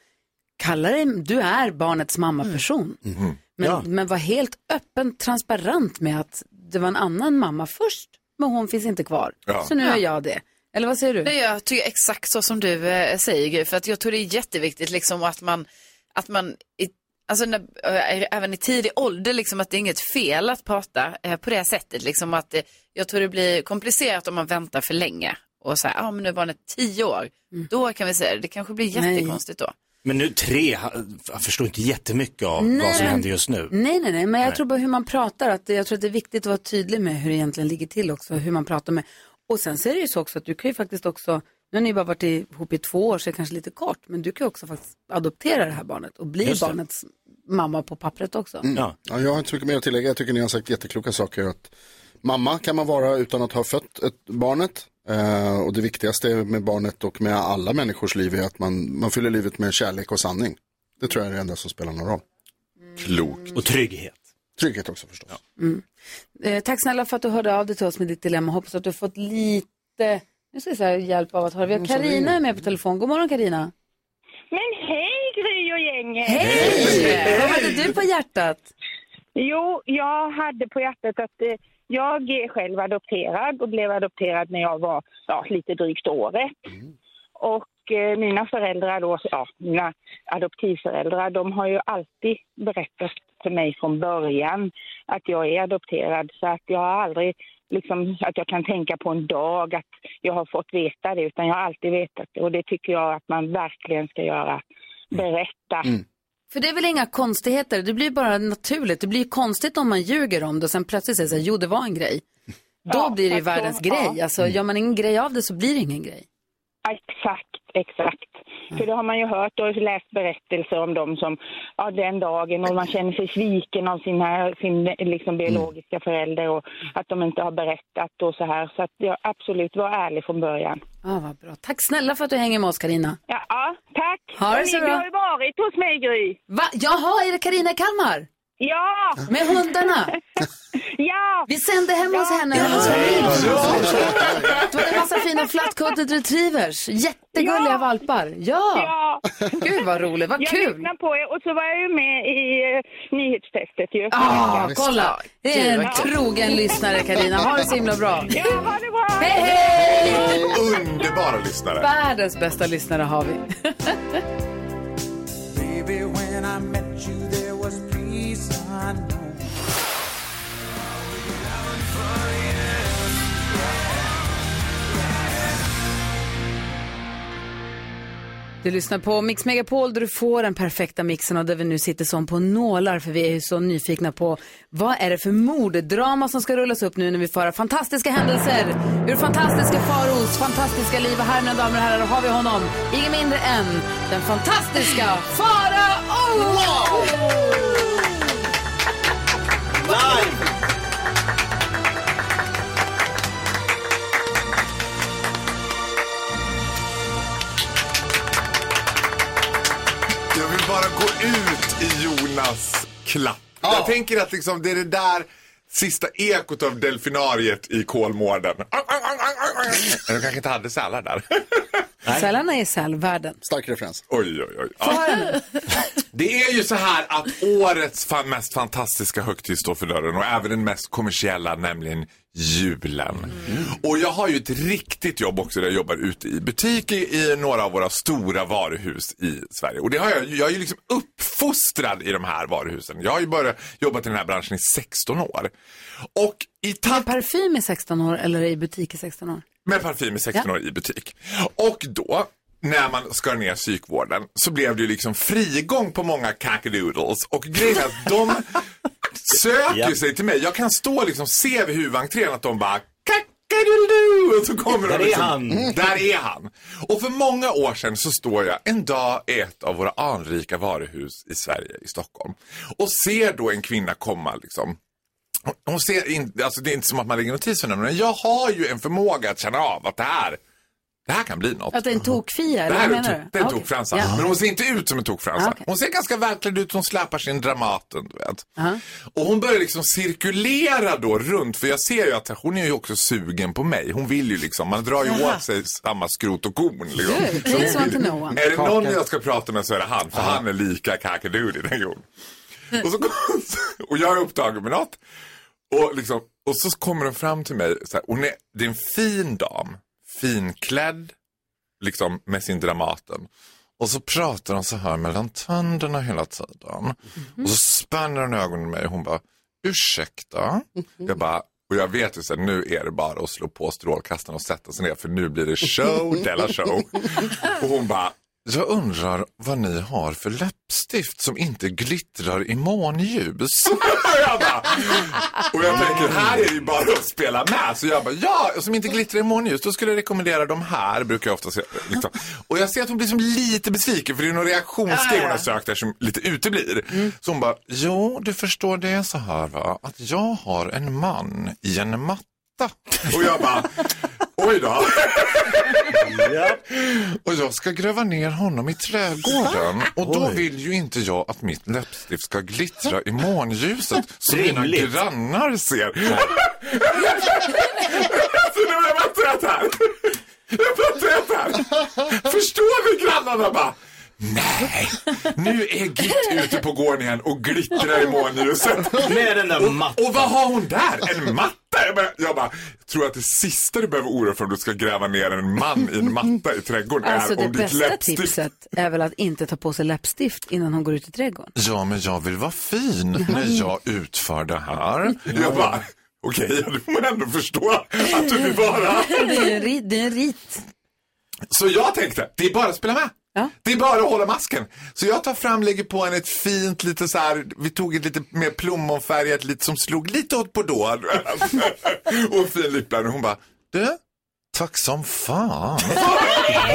[SPEAKER 1] kalla dig, du är barnets mammaperson.
[SPEAKER 10] Mhm.
[SPEAKER 1] Men,
[SPEAKER 10] Ja.
[SPEAKER 1] men var helt öppen, transparent med att det var en annan mamma först, men hon finns inte kvar.
[SPEAKER 10] Ja.
[SPEAKER 1] Så nu
[SPEAKER 15] Ja.
[SPEAKER 1] är jag det. Eller vad säger du?
[SPEAKER 15] Nej, jag tycker exakt så som du eh, säger, Gry, för att jag tror det är jätteviktigt liksom att man, att man i, alltså när, eh, även i tidig ålder, liksom att det är inget fel att prata eh, på det sättet, liksom att eh, jag tror det blir komplicerat om man väntar för länge och säger, ja ah, men nu är barnet tio år, då kan vi säga det, det kanske blir
[SPEAKER 1] Mm. Nej.
[SPEAKER 15] jättekonstigt då.
[SPEAKER 6] Men nu tre, han han förstår inte jättemycket av
[SPEAKER 1] Nej,
[SPEAKER 6] vad som
[SPEAKER 1] men-
[SPEAKER 6] händer just nu.
[SPEAKER 1] Nej, nej, nej, men jag
[SPEAKER 6] Nej.
[SPEAKER 1] tror bara hur man pratar. Att det, jag tror att det är viktigt att vara tydlig med hur det egentligen ligger till också, hur man pratar med. Och sen så är det ju så också att du kan ju faktiskt också, nu har ni bara varit ihop i två år så det är kanske lite kort, men du kan ju också faktiskt adoptera det här barnet och bli
[SPEAKER 3] Just det.
[SPEAKER 1] barnets mamma på pappret också.
[SPEAKER 3] Mm. Ja. jag har inte så mycket mer att tillägga. Jag tycker ni har sagt jättekloka saker. Att mamma kan man vara utan att ha fött ett barnet. Eh, och det viktigaste med barnet och med alla människors liv är att man, man fyller livet med kärlek och sanning. Det tror jag är det enda som spelar någon roll.
[SPEAKER 18] Klokt.
[SPEAKER 6] Och trygghet.
[SPEAKER 3] Trygghet också förstås.
[SPEAKER 1] Mm. Eh, tack snälla för att du hörde av dig till oss med ditt dilemma. Hoppas att du fått lite, nu ska vi se här, hjälp av att höra. Vi har
[SPEAKER 10] Mm, så
[SPEAKER 1] Karina
[SPEAKER 10] ringer.
[SPEAKER 1] är med på telefon. God morgon Karina.
[SPEAKER 13] Men hej Gry och gänget!
[SPEAKER 1] Hej! Vad hade du på hjärtat?
[SPEAKER 13] Jo, jag hade på hjärtat att eh, jag är själv adopterad och blev adopterad när jag var ja, lite drygt året. Och eh, mina föräldrar då, ja, mina adoptivföräldrar, de har ju alltid berättat för mig från början att jag är adopterad. Så att jag har aldrig, liksom, att jag kan tänka på en dag att jag har fått veta det, utan jag har alltid vetat det. Och det tycker jag att man verkligen ska göra, berätta.
[SPEAKER 1] För det är väl inga konstigheter, det blir bara naturligt. Det blir ju konstigt om man ljuger om det och sen plötsligt säger så här, jo det var en grej. Då
[SPEAKER 13] Ja,
[SPEAKER 1] blir det ju
[SPEAKER 13] jag tror-
[SPEAKER 1] världens grej.
[SPEAKER 13] ja.
[SPEAKER 1] Alltså, gör man ingen grej av det så blir det ingen grej.
[SPEAKER 13] Exakt, exakt. För det har man ju hört och läst berättelser om dem som, ja den dagen och man känner sig sviken av sina, sin liksom biologiska förälder och att de inte har berättat och så här. Så att jag absolut var ärlig från början.
[SPEAKER 1] Ja, Ah, vad bra. Tack snälla för att du hänger med oss Karina.
[SPEAKER 13] Ja, ja tack!
[SPEAKER 1] Ha det så
[SPEAKER 13] Hörni,
[SPEAKER 1] bra.
[SPEAKER 13] Du har ju varit hos mig Gry.
[SPEAKER 1] Va? Jaha, är det Karina i Kalmar?
[SPEAKER 13] Ja!
[SPEAKER 1] Med hundarna?
[SPEAKER 13] ja!
[SPEAKER 1] Vi sände hem hos henne och hennes familj. Det var en massa fina flatcoated retrievers. Jättegulliga valpar. Ja. Gud vad roligt, vad
[SPEAKER 13] jag
[SPEAKER 1] kul.
[SPEAKER 13] lyssnade på er och så var jag ju med i eh, nyhetstestet ju.
[SPEAKER 1] Ah, kolla! Det är en trogen lyssnare Karina. Ha det så himla bra.
[SPEAKER 13] Ja, ha det bra!
[SPEAKER 1] Hej, hej!
[SPEAKER 18] Underbara lyssnare.
[SPEAKER 1] Världens bästa lyssnare har vi.
[SPEAKER 14] Baby, when I met you, there was peace I know.
[SPEAKER 1] Du lyssnar på Mix Megapol där du får den perfekta mixen och där vi nu sitter som på nålar för vi är ju så nyfikna på vad är det för morddrama som ska rullas upp nu när vi får höra fantastiska händelser ur fantastiska Faros fantastiska liv. Och här mina damer och herrar då har vi honom, ingen mindre än den fantastiska Farao!
[SPEAKER 18] Jag vill bara gå ut i Jonas klapp. Jag tänker att liksom, det är det där sista ekot av delfinariet i Kolmården. Au, au, au, au, au. Jag kanske inte hade sälar där.
[SPEAKER 1] Sällarna är sälvärlden.
[SPEAKER 3] Stark referens.
[SPEAKER 18] Oj, oj, oj.
[SPEAKER 1] Få
[SPEAKER 18] Ja.
[SPEAKER 1] höra nu.
[SPEAKER 18] Det är ju så här att årets fan mest fantastiska högtid står för dörren och även den mest kommersiella, nämligen julen. Och jag har ju ett riktigt jobb också där jag jobbar ute i butik i, i några av våra stora varuhus i Sverige. Och det har jag, ju- jag är ju liksom uppfostrad i de här varuhusen. Jag har ju börjat jobba i den här branschen i 16 år. Och i takt...
[SPEAKER 1] Parfym i 16 år eller i butik i 16 år?
[SPEAKER 18] med parfym i 16 år i butik. Och då, när man skar ner psykvården, så blev det ju liksom frigång på många cackadoodles. Och grejen är att de söker
[SPEAKER 6] Ja.
[SPEAKER 18] sig till mig. Jag kan stå och liksom, se vid huvudentrén att de bara "Kakadulu!" och så kommer
[SPEAKER 6] Där
[SPEAKER 18] de
[SPEAKER 6] är
[SPEAKER 18] liksom,
[SPEAKER 6] han.
[SPEAKER 18] Mm, Där är han. Och för många år sedan så står jag en dag i ett av våra anrika varuhus i Sverige, i Stockholm. Och ser då en kvinna komma liksom. Hon- Hon ser in, alltså det är inte som att man lägger notis för henne, men jag har ju en förmåga att känna av att det här, det här kan bli något.
[SPEAKER 1] Att det är en tokfia, eller
[SPEAKER 18] Det här är
[SPEAKER 1] vad
[SPEAKER 18] en
[SPEAKER 1] menar
[SPEAKER 18] tok- det
[SPEAKER 1] du?
[SPEAKER 18] är en
[SPEAKER 1] Ah, okej.
[SPEAKER 18] tokfransa.
[SPEAKER 1] Ja.
[SPEAKER 18] Men hon ser inte ut som en tokfransa.
[SPEAKER 1] Ah, okej.
[SPEAKER 18] Hon ser ganska verkligen ut. Hon släpar sin Dramaten, du vet.
[SPEAKER 1] Ah.
[SPEAKER 18] Och hon börjar liksom cirkulera då runt. För jag ser ju att hon är ju också sugen på mig. Hon vill ju liksom. Man drar ju
[SPEAKER 1] Jaha.
[SPEAKER 18] åt sig samma skrot och korn. Liksom.
[SPEAKER 1] Du,
[SPEAKER 18] Så hon
[SPEAKER 1] please want to
[SPEAKER 18] vill-
[SPEAKER 1] know one.
[SPEAKER 18] Är det någon jag ska prata med så är det han. För han är lika kakadoodie, tänker hon. Och, så kom- och jag är upptagen med något. Och, liksom, och så kommer hon fram till mig. Så här, hon är, det är en fin dam. Finklädd. Liksom med sin Dramaten. Och så pratar hon så här mellan tänderna hela tiden. Och så spänner hon ögonen i mig och hon bara, ursäkta? Jag bara, och jag vet ju så här, nu är det bara att slå på strålkastaren och sätta sig ner för nu blir det show della show. Och hon bara, jag undrar vad ni har för läppstift som inte glittrar i månljus. Och jag bara, och jag tänker, här är det ju bara att spela med. Så jag bara, ja, som inte glittrar i månljus, då skulle jag rekommendera de här, brukar jag ofta säga. Liksom. Och jag ser att hon blir som lite besviken, för det är någon reaktionsgrej hon har sökt där som lite uteblir. Så hon bara, jo, du förstår det är så här va, att jag har en man i en matta. Och jag bara, oj då. Och jag ska gräva ner honom i trädgården. Och då
[SPEAKER 19] Oj.
[SPEAKER 18] vill ju inte jag att mitt läppstift ska glittra i månljuset så mina
[SPEAKER 19] Rimligt.
[SPEAKER 18] grannar ser. Så nu är jag trött här. Jag är trött här. Förstår vi grannarna bara? Nej, nu är Gitt ute på gården igen och glittrar i månljuset.
[SPEAKER 6] Med den där
[SPEAKER 18] mattan. Och, och vad har hon där? En matta? Jag bara, jag bara, tror att det sista du behöver oroa dig för om du ska gräva ner en man i en matta i trädgården
[SPEAKER 1] Alltså
[SPEAKER 18] är
[SPEAKER 1] det
[SPEAKER 18] om ditt
[SPEAKER 1] bästa
[SPEAKER 18] läppstift.
[SPEAKER 1] tipset är väl att inte ta på sig läppstift innan hon går ut i trädgården.
[SPEAKER 18] Ja, men jag vill vara fin när jag utför det här. Jag bara, okej, du får man ändå förstå att du vill vara.
[SPEAKER 1] Det är ju en rit. Det är en rit.
[SPEAKER 18] Så jag tänkte, det är bara att spela med. Det är bara att hålla masken. Så jag tar fram, lägger på en ett fint lite så här, vi tog ett lite mer plommonfärgat, lite som slog lite åt bordeaux. och en fin lippliner. Hon bara, du, tack som fan.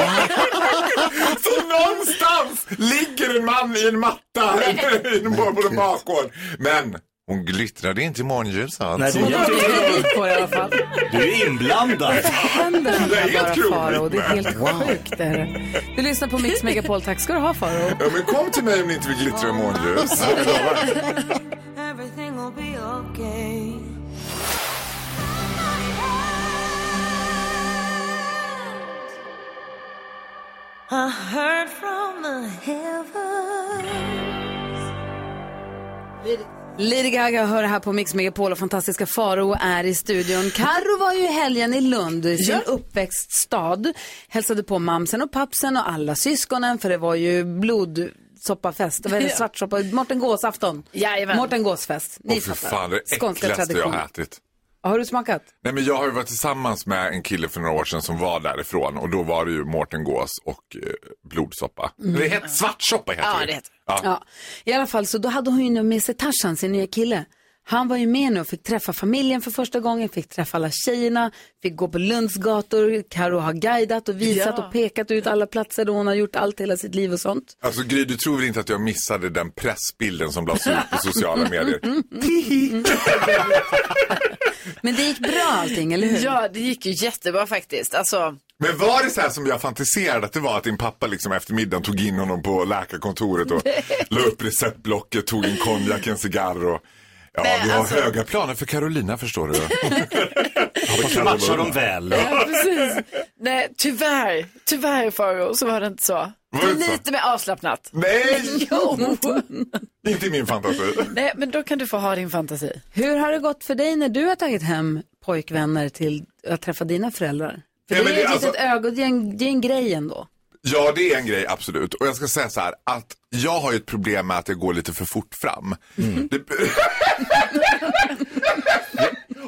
[SPEAKER 18] Så någonstans ligger en man i en matta i en på en bakgård. Men hon glittrade inte i månljuset.
[SPEAKER 6] Nej, du, jag tycker-
[SPEAKER 1] Rit på det i alla fall.
[SPEAKER 6] Du är inblandad.
[SPEAKER 1] Vad händer
[SPEAKER 6] Det är
[SPEAKER 1] här
[SPEAKER 6] helt otroligt.
[SPEAKER 1] bara Faro? Det är helt sjukt. det är det. Du lyssnar på Mix Megapol. Tack ska du ha Faro.
[SPEAKER 18] Ja, men kom till mig om ni inte vill glittra i månljus. Jag lovar.
[SPEAKER 10] Everything will be okay. I heard from the heavens.
[SPEAKER 1] Lady Gaga hör här på Mix Megapol och fantastiska Faro är i studion. Karo var ju i helgen i Lund, i sin uppväxtstad. Hälsade på mamsen och pappsen och alla syskonen för det var ju blodsoppafest. Vad är det?
[SPEAKER 4] Ja.
[SPEAKER 1] Svartsoppa? Mårten Gåsafton.
[SPEAKER 4] Jajamän.
[SPEAKER 1] Mårten Gåsfest.
[SPEAKER 18] Åh
[SPEAKER 1] Ni
[SPEAKER 18] fy
[SPEAKER 1] fattar.
[SPEAKER 18] fan, det är det
[SPEAKER 1] Skånska
[SPEAKER 18] äckligaste jag
[SPEAKER 1] traditioner.
[SPEAKER 18] har ätit.
[SPEAKER 1] Har du smakat?
[SPEAKER 18] Nej men jag har ju varit tillsammans med en kille för några år sedan som var därifrån och då var det ju Mårten Gås och eh, blodsoppa.
[SPEAKER 1] Mm.
[SPEAKER 18] Det heter svartsoppa heter
[SPEAKER 1] Ja, det heter
[SPEAKER 18] Ja.
[SPEAKER 1] Ja. I alla fall så då hade hon ju nu med sig Tarzan, sin nya kille. Han var ju med nu och fick träffa familjen för första gången, fick träffa alla tjejerna, fick gå på Lunds gator, Karo har guidat och visat
[SPEAKER 4] Ja.
[SPEAKER 1] och pekat ut alla platser där hon har gjort allt hela sitt liv och sånt.
[SPEAKER 18] Alltså Gry, du tror väl inte att jag missade den pressbilden som lades ut på sociala medier?
[SPEAKER 1] Mm, Men det gick bra allting, eller hur?
[SPEAKER 15] Ja, det gick ju jättebra faktiskt. Alltså,
[SPEAKER 18] Men var det så här som jag fantiserade att det var att din pappa liksom efter middagen tog in honom på läkarkontoret och la upp receptblocket, tog en konjak, en cigarr och ja,
[SPEAKER 15] Nej,
[SPEAKER 18] vi har
[SPEAKER 15] alltså-
[SPEAKER 18] höga planer för Carolina förstår du. Hoppas
[SPEAKER 6] matchar dem väl.
[SPEAKER 15] ja, precis. Nej, tyvärr, tyvärr Faro, så var det inte så.
[SPEAKER 18] Var det inte så?
[SPEAKER 15] Lite mer avslappnat.
[SPEAKER 18] Nej!
[SPEAKER 15] jo.
[SPEAKER 18] Inte i min fantasi.
[SPEAKER 15] Nej, men då kan du få ha din fantasi.
[SPEAKER 1] Hur har det gått för dig när du har tagit hem pojkvänner till att träffa dina föräldrar? För
[SPEAKER 18] Ja,
[SPEAKER 1] det
[SPEAKER 18] men
[SPEAKER 1] är
[SPEAKER 18] det-
[SPEAKER 1] ju ett litet
[SPEAKER 18] alltså-
[SPEAKER 1] öga, det är en, det är en grej ändå.
[SPEAKER 18] Ja, det är en grej, absolut. Och jag ska säga så här, att jag har ju ett problem med att jag går lite för fort fram.
[SPEAKER 6] Mm.
[SPEAKER 18] Det...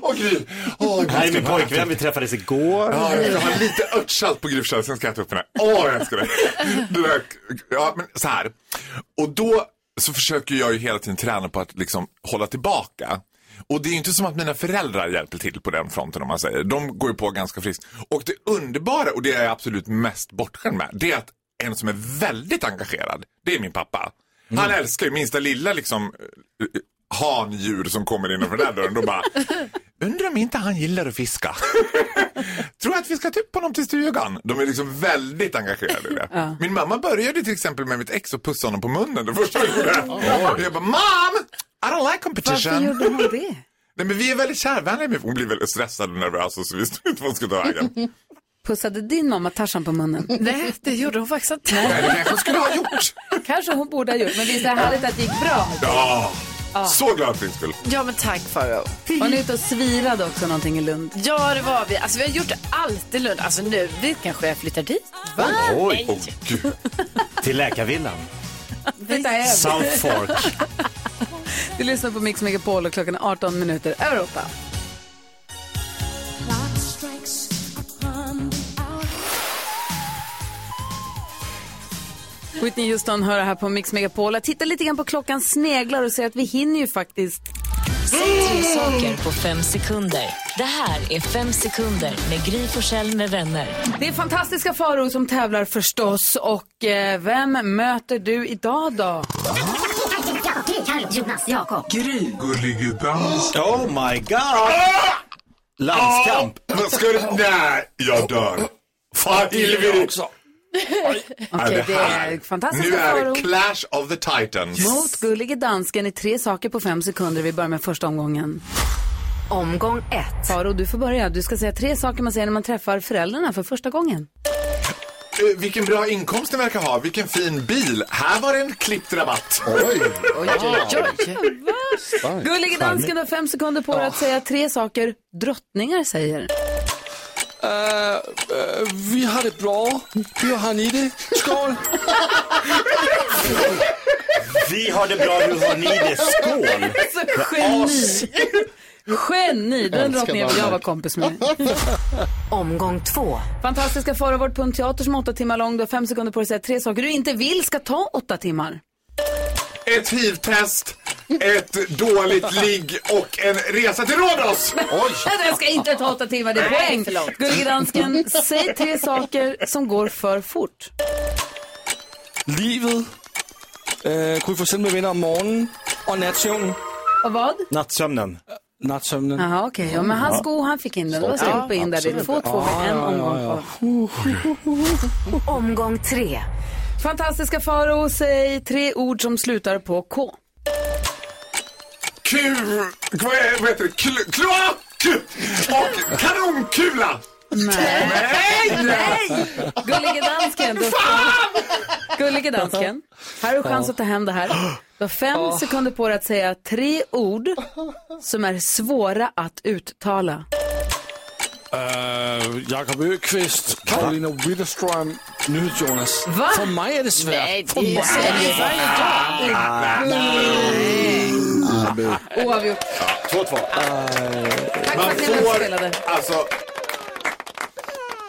[SPEAKER 18] Åh, Gry. Åh, Gry.
[SPEAKER 6] Det här är min pojkvän, vi träffades igår.
[SPEAKER 18] Ja, jag har lite örtsalt på gruvkärl, sen ska jag äta upp den här. Åh, jag älskar det. det där, ja, men så här. Och då så försöker jag ju hela tiden träna på att liksom hålla tillbaka. Och det är ju inte som att mina föräldrar hjälper till på den fronten om man säger. De går ju på ganska friskt. Och det underbara och det jag är absolut mest bortskämd med, det är att en som är väldigt engagerad, det är min pappa. Han
[SPEAKER 6] Mm.
[SPEAKER 18] älskar ju minsta lilla liksom eh, handjur som kommer innanför den där dörren. Då bara, undrar om inte han gillar att fiska. Tror att vi ska ta upp honom till stugan. De är liksom väldigt engagerade i det.
[SPEAKER 10] Ja.
[SPEAKER 18] Min mamma började till exempel med mitt ex och pussa honom på munnen det första jag gjorde. Jag bara, mom! I don't like competition.
[SPEAKER 1] Varför gjorde hon det?
[SPEAKER 18] Nej men vi är väldigt kärvänliga. men Hon blir väldigt stressad och nervös och så visste hon inte vad hon skulle ta vägen.
[SPEAKER 1] Pussade din mamma Tarzan på munnen?
[SPEAKER 15] Nej, det gjorde hon faktiskt inte.
[SPEAKER 18] Nej, det kanske hon skulle ha gjort.
[SPEAKER 1] Kanske hon borde ha gjort, men visst är det härligt att det gick bra?
[SPEAKER 18] Ja,
[SPEAKER 1] Ja.
[SPEAKER 18] så glad för din skull.
[SPEAKER 15] Ja, men tack Farao.
[SPEAKER 1] Var ni ute och svirade också någonting i Lund?
[SPEAKER 15] Ja, det var vi. Alltså vi har gjort allt i Lund. Alltså nu, vi kanske jag flyttar dit. Va?
[SPEAKER 6] Oj, åh gud. Till läkarvillan. South Fork.
[SPEAKER 1] Du lyssnar på Mix Megapol och klockan är 18 minuter över 8. Whitney Houston hör här på Mix Megapol. Jag tittar lite grann på klockan, sneglar och ser att vi hinner ju faktiskt.
[SPEAKER 19] Säg tre saker på fem sekunder. Det här är Fem sekunder med Gry Forssell med vänner.
[SPEAKER 1] Det är fantastiska faror som tävlar förstås. Och eh, vem möter du idag då?
[SPEAKER 10] Jonas, Jakob.
[SPEAKER 6] Gry. Oh my god. Landskamp.
[SPEAKER 18] Vad ska du... Nej, jag dör. Fan, Hillevi.
[SPEAKER 1] Okej,
[SPEAKER 18] Nej,
[SPEAKER 1] det
[SPEAKER 18] här-
[SPEAKER 1] är fantastiska
[SPEAKER 18] Nu är
[SPEAKER 1] faror.
[SPEAKER 18] det Clash of the Titans.
[SPEAKER 1] Mot gullige dansken i tre saker på fem sekunder. Vi börjar med första omgången. Omgång ett. Faro, du får börja. Du ska säga tre saker man säger när man träffar föräldrarna för första gången.
[SPEAKER 18] Eh, Vilken bra inkomst den verkar ha. Vilken fin bil. Här var det en klippt rabatt. Oj,
[SPEAKER 15] oj, oj.
[SPEAKER 1] Gullige dansken har fem sekunder på dig att säga tre saker drottningar säger.
[SPEAKER 9] Øh, øh, vi har det bra. Du har ni det. Skål.
[SPEAKER 6] Vi har det bra, hur har ni det? Skål!
[SPEAKER 1] Alltså, geni! Geni! Den
[SPEAKER 10] Älskar
[SPEAKER 1] drottningen vill jag
[SPEAKER 10] Danmark.
[SPEAKER 1] vara kompis med. Omgång två. Fantastiska Farao, vårt punkteater som är åtta timmar lång. Du har fem sekunder på dig att säga tre saker du inte vill ska ta åtta timmar.
[SPEAKER 18] Ett hiv-test, ett dåligt ligg och en resa till Rhodos.
[SPEAKER 1] Den ska inte ta åtta timmar, det är
[SPEAKER 18] Nej,
[SPEAKER 1] poäng.
[SPEAKER 18] förlåt.
[SPEAKER 1] Gullige dansken, säg tre saker som går för fort.
[SPEAKER 9] Livet. Øh, kunne I få sendt med venner om morgenen? Og natsøvnen. Øh,
[SPEAKER 1] Och vad?
[SPEAKER 6] Nattsömnen.
[SPEAKER 9] Natsøvnen.
[SPEAKER 1] Jaha, okej. Ja, men hans
[SPEAKER 9] Ja.
[SPEAKER 1] sko, han fick in den. Det var
[SPEAKER 9] Ja,
[SPEAKER 1] slut på in där. Det är två,
[SPEAKER 9] absolut.
[SPEAKER 1] två med en
[SPEAKER 9] Ja, ja,
[SPEAKER 1] omgång
[SPEAKER 9] ja,
[SPEAKER 1] kvar. Omgång tre. Fantastiska Farao, säg tre ord som slutar på K.
[SPEAKER 18] Kur... Vad är- vad heter det? Kl- kloak! Och kanonkula!
[SPEAKER 10] Nej!
[SPEAKER 1] Nej! Gullige dansken. Du Gullige dansken. Här har du chans att ta hem det här. Du har fem
[SPEAKER 10] Ja.
[SPEAKER 1] sekunder på dig att säga tre ord som är svåra att uttala.
[SPEAKER 9] Øh, Jakob Øqvist, Karolina Witterstrøm, Nyhed Jonas.
[SPEAKER 1] Hvad?
[SPEAKER 9] For mig er det svært.
[SPEAKER 1] Nej,
[SPEAKER 9] For
[SPEAKER 1] det er
[SPEAKER 9] mig
[SPEAKER 1] svært. Det er svært.
[SPEAKER 9] Ah,
[SPEAKER 1] Ah,
[SPEAKER 9] nej.
[SPEAKER 1] Oavgjort.
[SPEAKER 18] 2-2. Man
[SPEAKER 1] för att ni
[SPEAKER 18] får...
[SPEAKER 1] spelade.
[SPEAKER 18] Alltså...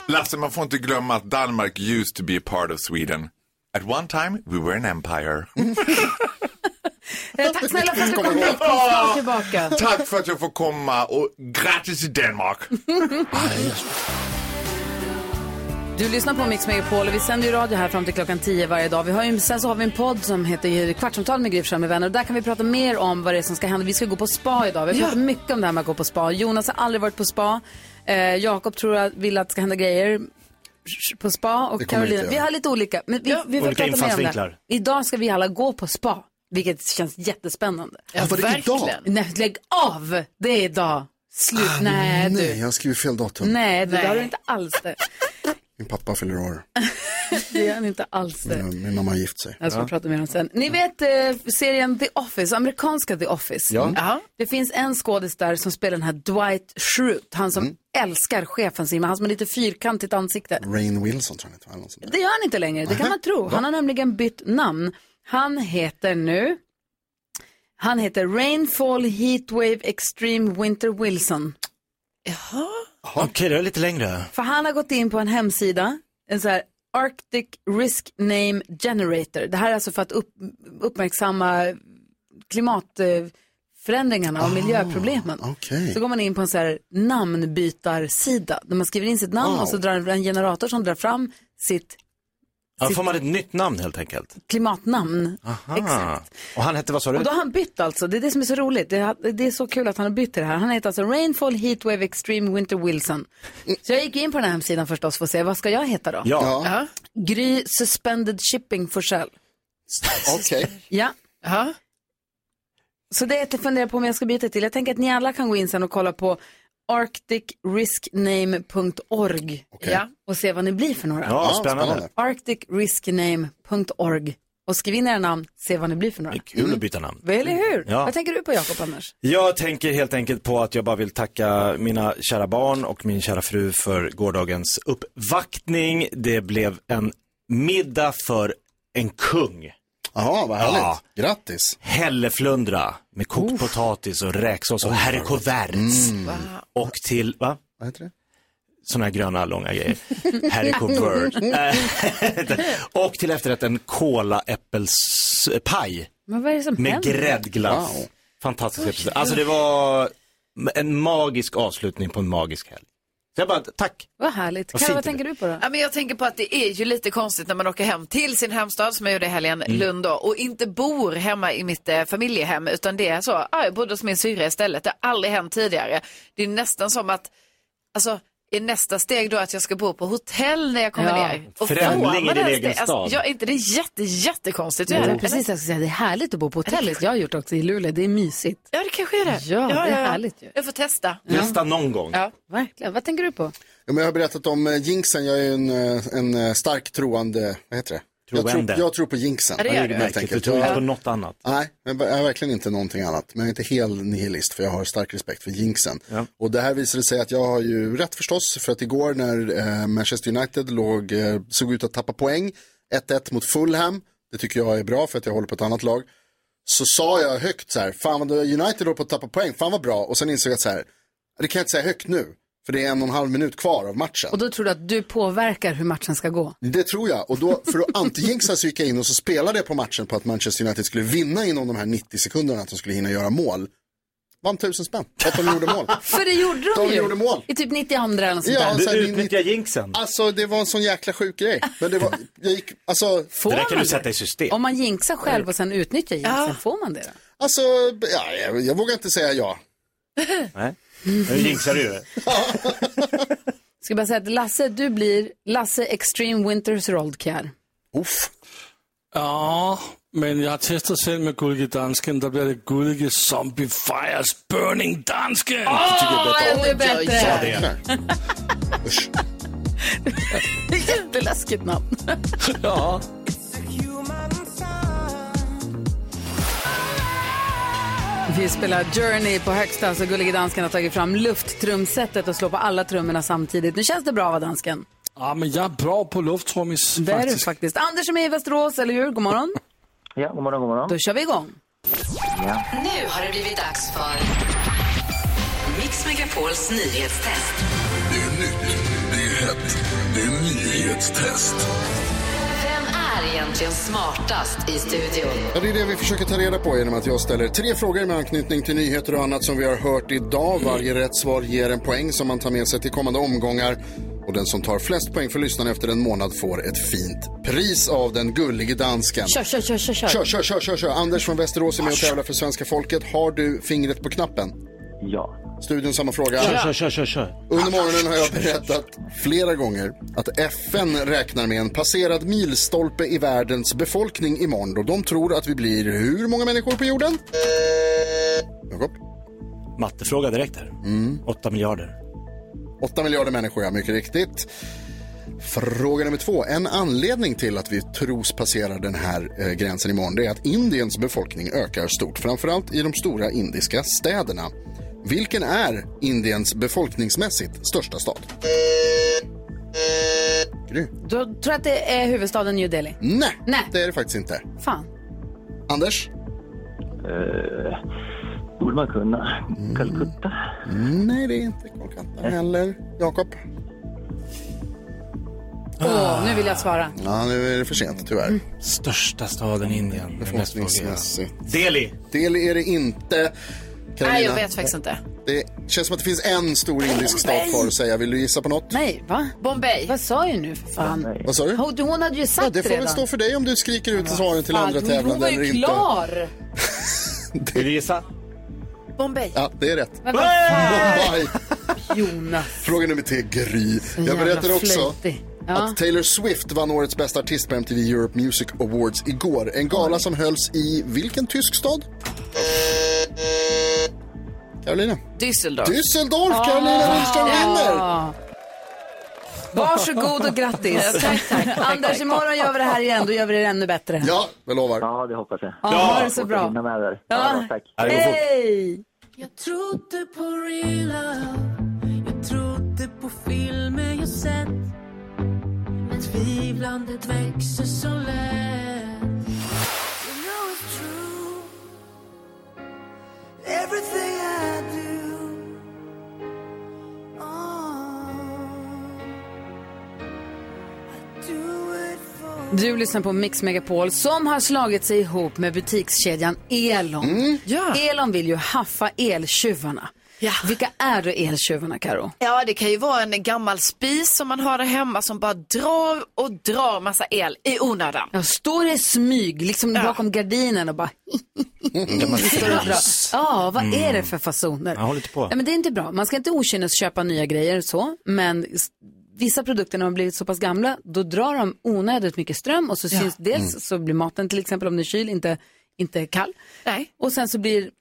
[SPEAKER 18] Lasse, man får inte glömma att Danmark used to be a part of Sweden. At one time we were an empire.
[SPEAKER 1] Eh, tack snälla för att du kom hit. Kom snart tillbaka.
[SPEAKER 18] Tack för att jag får komma och grattis till Danmark.
[SPEAKER 1] Du lyssnar på Mix Megapol och vi sänder ju radio här fram till klockan 10 varje dag. Vi har ju, sen så har vi en podd som heter Kvartsamtal med Gryfsjö med vänner och där kan vi prata mer om vad det är som ska hända. Vi ska gå på spa idag. Vi har
[SPEAKER 15] Ja.
[SPEAKER 1] pratat mycket om det här med att gå på spa. Jonas har aldrig varit på spa. Eh, Jakob tror jag vill att det ska hända grejer på spa och
[SPEAKER 15] Det kommer
[SPEAKER 1] Karolina.
[SPEAKER 15] inte
[SPEAKER 1] Vi
[SPEAKER 15] jag.
[SPEAKER 1] har lite olika, men vi, vi får
[SPEAKER 15] Olika
[SPEAKER 1] prata mer om det.
[SPEAKER 15] infallsvinklar.
[SPEAKER 1] Idag ska vi alla gå på spa, vilket känns jättespännande.
[SPEAKER 15] Ja, var det Verkligen. idag? Ah,
[SPEAKER 1] Nej, lägg av! Det är idag. Slut. nej, du.
[SPEAKER 3] Nej, jag skriver fel datum.
[SPEAKER 1] Nej, du, det har du inte alls det.
[SPEAKER 3] Min pappa fyller år.
[SPEAKER 1] Det är han inte alls det.
[SPEAKER 3] Eh, Min mamma har gift sig.
[SPEAKER 1] Jag ska prata mer om sen. Ni vet eh, serien The Office, amerikanska The Office.
[SPEAKER 3] Ja.
[SPEAKER 1] Mm. Det finns en skådis där som spelar den här Dwight Schrute, han som älskar chefen sin, men han som har lite fyrkantigt ansikte.
[SPEAKER 3] Rain Wilson tror jag han heter, eller något sånt där.
[SPEAKER 1] Det gör han inte längre, det kan man tro. Han har nämligen bytt namn. Han heter nu, han heter Rainfall Heatwave Extreme Winter Wilson.
[SPEAKER 6] Okej, det är lite längre.
[SPEAKER 1] För han har gått in på en hemsida, en så här Arctic Risk Name Generator. Det här är alltså för att upp, uppmärksamma klimatförändringarna och miljöproblemen.
[SPEAKER 3] Okej.
[SPEAKER 1] Så går man in på en så här namnbytarsida där man skriver in sitt namn
[SPEAKER 6] Wow.
[SPEAKER 1] och så drar en generator som drar fram sitt
[SPEAKER 6] Ja, då får man ett nytt namn helt enkelt.
[SPEAKER 1] klimatnamn.
[SPEAKER 6] Aha.
[SPEAKER 1] Exakt.
[SPEAKER 6] Och han hette, vad sa du?
[SPEAKER 1] Och då har han bytt alltså, det är det som är så roligt. Det, det är så kul att han har bytt till det här. Han heter alltså Rainfall Heatwave Extreme Winter Wilson. Så jag gick in på den här hemsidan förstås för att se, vad ska jag heta då?
[SPEAKER 3] Ja. Ja.
[SPEAKER 1] Gry Suspended Shipping Forsell.
[SPEAKER 3] Okej.
[SPEAKER 1] Ja. Så det är att jag funderar på om jag ska byta till. Jag tänker att ni alla kan gå in sen och kolla på arcticriskname.org ja, och se vad ni blir för några.
[SPEAKER 6] Ja, spännande. spännande.
[SPEAKER 1] Arcticriskname.org och skriv in era namn, se vad ni blir för några.
[SPEAKER 6] Kul att byta namn.
[SPEAKER 1] Mm. Eller hur?
[SPEAKER 6] Ja.
[SPEAKER 1] Vad tänker du på Jakob annars?
[SPEAKER 6] Jag tänker helt enkelt på att jag bara vill tacka mina kära barn och min kära fru för gårdagens uppvaktning. Det blev en middag för en kung.
[SPEAKER 3] Jaha, vad härligt. Grattis.
[SPEAKER 6] Hälleflundra med kokt potatis och räksås och
[SPEAKER 3] Oj, vad Mm.
[SPEAKER 6] haricots Och till, va?
[SPEAKER 3] Vad heter det?
[SPEAKER 6] Sådana här gröna långa grejer. Haricots verd. och till efterrätten kolaäppelspaj.
[SPEAKER 1] Men vad är det som
[SPEAKER 6] Med
[SPEAKER 1] händer?
[SPEAKER 6] gräddglass.
[SPEAKER 1] Wow.
[SPEAKER 6] Fantastisk representation. Alltså det var en magisk avslutning på en magisk helg. Så jag bara, tack.
[SPEAKER 1] Vad härligt.
[SPEAKER 6] Vad Karo, fint vad det
[SPEAKER 1] tänker du på då?
[SPEAKER 15] Ja, men jag tänker på att det är ju lite konstigt när man åker hem till sin hemstad, som jag gjorde i helgen,
[SPEAKER 6] Mm.
[SPEAKER 15] Lund då, och inte bor hemma i mitt eh, familjehem, utan det är så, ah, jag bodde hos min syrra istället. Det har aldrig hänt tidigare. Det är nästan som att, alltså, är nästa steg då att jag ska bo på hotell när jag kommer
[SPEAKER 1] Ja.
[SPEAKER 15] ner?
[SPEAKER 6] Främling
[SPEAKER 15] får
[SPEAKER 6] i
[SPEAKER 15] man
[SPEAKER 6] din
[SPEAKER 15] ens
[SPEAKER 6] egen
[SPEAKER 15] det? Alltså,
[SPEAKER 6] stad.
[SPEAKER 15] ja, inte det är jätte, jättekonstigt att
[SPEAKER 1] Jo,
[SPEAKER 15] göra det.
[SPEAKER 1] Mm. precis, jag ska säga, det är härligt att bo på hotellet. Jag har gjort också i Luleå, det är mysigt.
[SPEAKER 15] Ja, det kanske är det.
[SPEAKER 1] Ja, det är härligt ju.
[SPEAKER 15] Jag får testa.
[SPEAKER 6] Testa någon gång.
[SPEAKER 15] Ja.
[SPEAKER 1] Verkligen. Vad tänker du på?
[SPEAKER 3] Ja, men jag har berättat om eh, jinxen. Jag är ju en, eh, en eh, stark troende, vad heter det? Jag tror,
[SPEAKER 6] Troende.
[SPEAKER 3] jag tror på jinxen.
[SPEAKER 6] Ja, det gör du.
[SPEAKER 3] helt
[SPEAKER 6] Märkligt, du
[SPEAKER 3] enkelt.
[SPEAKER 6] tror inte
[SPEAKER 3] Ja.
[SPEAKER 6] på något annat.
[SPEAKER 3] Nej, jag jag är verkligen inte någonting annat. Men jag är inte hel nihilist för jag har stark respekt för jinxen. Och det här visade sig att jag har ju rätt förstås. För att igår när eh, Manchester United låg, eh, såg ut att tappa poäng, 1-1 mot Fulham, det tycker jag är bra för att jag håller på ett annat lag. Så sa jag högt så här, fan vad United håller på att tappa poäng, fan vad bra. Och sen insåg jag att så här, det kan jag inte säga högt nu. För det är en och en halv minut kvar av matchen.
[SPEAKER 1] Och då tror du att du påverkar hur matchen ska gå?
[SPEAKER 3] Det tror jag. Och då, för att anti-jinxa så gick jag in och så spelade jag på matchen på att Manchester United skulle vinna inom de här 90 sekunderna, att de skulle hinna göra mål. Vann tusen spänn för att de gjorde mål.
[SPEAKER 1] För det gjorde de,
[SPEAKER 3] De
[SPEAKER 1] ju.
[SPEAKER 3] gjorde mål.
[SPEAKER 1] I typ 92 eller något sånt där.
[SPEAKER 3] så här, ni-
[SPEAKER 6] jinxen.
[SPEAKER 3] Alltså det var en sån jäkla sjuk grej. Men det var, jag gick, alltså.
[SPEAKER 1] Får Det där kan man du det? sätta
[SPEAKER 6] i system.
[SPEAKER 1] Om man jinxar själv och sen utnyttjar jinxen,
[SPEAKER 3] Ja.
[SPEAKER 1] får man det då?
[SPEAKER 3] Alltså, ja, jag, jag vågar inte säga ja.
[SPEAKER 6] Nej, nu jinxar du ju.
[SPEAKER 1] Ska bara säga att Lasse, du blir Lasse Extreme Winters Roldcare.
[SPEAKER 3] Uff.
[SPEAKER 9] Ja, men jeg har testet selv med Gullige Dansken. Der bliver det Gullige Zombie Fires Burning Dansken. Oh, det
[SPEAKER 1] ännu bättre.
[SPEAKER 9] Ja,
[SPEAKER 1] det
[SPEAKER 9] er.
[SPEAKER 1] Jätteläskigt namn.
[SPEAKER 9] ja.
[SPEAKER 1] Vi spelar Journey på högsta så Gullige Dansken har tagit fram lufttrumsetet och slår på alla trummorna samtidigt. Nu känns det bra va dansken?
[SPEAKER 9] ja, Ah, men jeg er bra på lufttrummis,
[SPEAKER 1] Det Ah. är du faktiskt. Anders som är i Västerås, eller hur? God morgon.
[SPEAKER 20] Ja, god morgon, god morgon.
[SPEAKER 1] Då kör vi igång.
[SPEAKER 20] Ja.
[SPEAKER 2] Nu har det blivit dags för Mix Megapols nyhetstest.
[SPEAKER 21] Det är nytt, det är hett, det är nyhetstest.
[SPEAKER 2] Vem är egentligen smartast i studion?
[SPEAKER 3] Ja, det är det vi försöker ta reda på genom att jag ställer tre frågor med anknytning till nyheter och annat som vi har hört idag. Varje rätt svar ger en poäng som man tar med sig till kommande omgångar. Och den som tar flest poäng för lyssnarna efter en månad får ett fint pris av den gullige dansken.
[SPEAKER 1] Kör, kör, kör, kör, kör.
[SPEAKER 3] Kör, kör, kör, kör, kör. Anders från Västerås är med och tävlar för svenska folket. Har du fingret på knappen?
[SPEAKER 20] Ja.
[SPEAKER 3] Studion samma fråga.
[SPEAKER 6] Kör, kör, kör, kör, kör.
[SPEAKER 3] Under morgonen har jag berättat flera gånger att FN räknar med en passerad milstolpe i världens befolkning imorgon och de tror att vi blir hur många människor på jorden? Jakob?
[SPEAKER 6] Mattefråga direkt här. 8 miljarder.
[SPEAKER 3] 8 miljarder människor, ja, mycket riktigt. Fråga nummer två. En anledning till att vi tros passera den här eh, gränsen imorgon det är att Indiens befolkning ökar stort, framförallt i de stora indiska städerna. Vilken är Indiens befolkningsmässigt största stad? Gry?
[SPEAKER 1] Då tror jag att det är huvudstaden New Delhi.
[SPEAKER 3] Nej, det är det faktiskt inte.
[SPEAKER 1] Fan.
[SPEAKER 3] Anders?
[SPEAKER 20] Eh, borde man kunna.
[SPEAKER 3] Mm.
[SPEAKER 20] Calcutta.
[SPEAKER 3] Nej, det är inte Kolkata heller. Jakob?
[SPEAKER 1] Åh, nu vill jag svara. Mm.
[SPEAKER 3] Ja, nu är det för sent tyvärr.
[SPEAKER 6] Största staden i Indien.
[SPEAKER 3] Befolkningsmässigt.
[SPEAKER 6] Delhi.
[SPEAKER 3] Delhi är det inte. Carolina,
[SPEAKER 15] Nej, jag vet faktiskt inte.
[SPEAKER 3] Det känns som att det finns en stor indisk stad kvar att säga. Vill du gissa på något?
[SPEAKER 1] Nej, va?
[SPEAKER 15] Bombay.
[SPEAKER 1] Vad sa jag nu för fan?
[SPEAKER 3] Vad sa du?
[SPEAKER 1] Hon, hon hade ju sagt
[SPEAKER 3] Ja, det får väl
[SPEAKER 1] redan.
[SPEAKER 3] stå för dig om du skriker ut svaren till
[SPEAKER 1] Fan,
[SPEAKER 3] andra
[SPEAKER 1] hon- Hon
[SPEAKER 3] tävlande
[SPEAKER 1] var
[SPEAKER 3] eller
[SPEAKER 1] ju
[SPEAKER 3] inte.
[SPEAKER 1] klar.
[SPEAKER 6] Vill du gissa?
[SPEAKER 15] Bombay.
[SPEAKER 3] Ja, det är rätt.
[SPEAKER 1] Men vad fan?
[SPEAKER 3] Bombay.
[SPEAKER 1] Jonas.
[SPEAKER 3] Fråga nummer tre, Gry. Jag
[SPEAKER 1] jävla
[SPEAKER 3] berättar också
[SPEAKER 1] flöjtig. Ja.
[SPEAKER 3] att Taylor Swift vann årets bästa artist på MTV Europe Music Awards igår. En gala som hölls i vilken tysk stad? Carolina.
[SPEAKER 15] Düsseldorf.
[SPEAKER 3] Düsseldorf, Carolina Wickström vinner!
[SPEAKER 1] Varsågod och grattis. tack, tack. Anders, imorgon gör vi det här igen. Då gör vi det ännu bättre.
[SPEAKER 3] Ja, jag lovar.
[SPEAKER 20] Ja, det hoppas jag.
[SPEAKER 1] Ja, ha det så bra.
[SPEAKER 20] Hinna med där.
[SPEAKER 1] Ja.
[SPEAKER 20] tack.
[SPEAKER 1] Hej!
[SPEAKER 10] Jag trodde på real love Jag trodde på filmer jag sett Men tvivlandet växer så lätt You know it's true Everything I do Oh.
[SPEAKER 1] Du lyssnar på Mix Megapol som har slagit sig ihop med butikskedjan Elon. Elon vill ju haffa eltjuvarna. Vilka är då eltjuvarna, Karo?
[SPEAKER 15] Ja, det kan ju vara en gammal spis som man har där hemma som bara drar och drar massa el i onödan.
[SPEAKER 1] Jag står i smyg, liksom bakom gardinen och bara...
[SPEAKER 6] Gammal
[SPEAKER 1] står och drar.
[SPEAKER 6] fis.
[SPEAKER 1] Ja, vad
[SPEAKER 6] Mm.
[SPEAKER 1] är det för fasoner?
[SPEAKER 6] Ja, håll inte på.
[SPEAKER 1] Ja, men det är inte bra. Man ska inte okynnesköpa nya grejer och så, men s- vissa produkter när de har blivit så pass gamla, då drar de onödigt mycket ström och så syns dels
[SPEAKER 10] Mm.
[SPEAKER 1] så blir maten till exempel om den är kyl inte, inte kall.
[SPEAKER 15] Nej.
[SPEAKER 1] Och sen så blir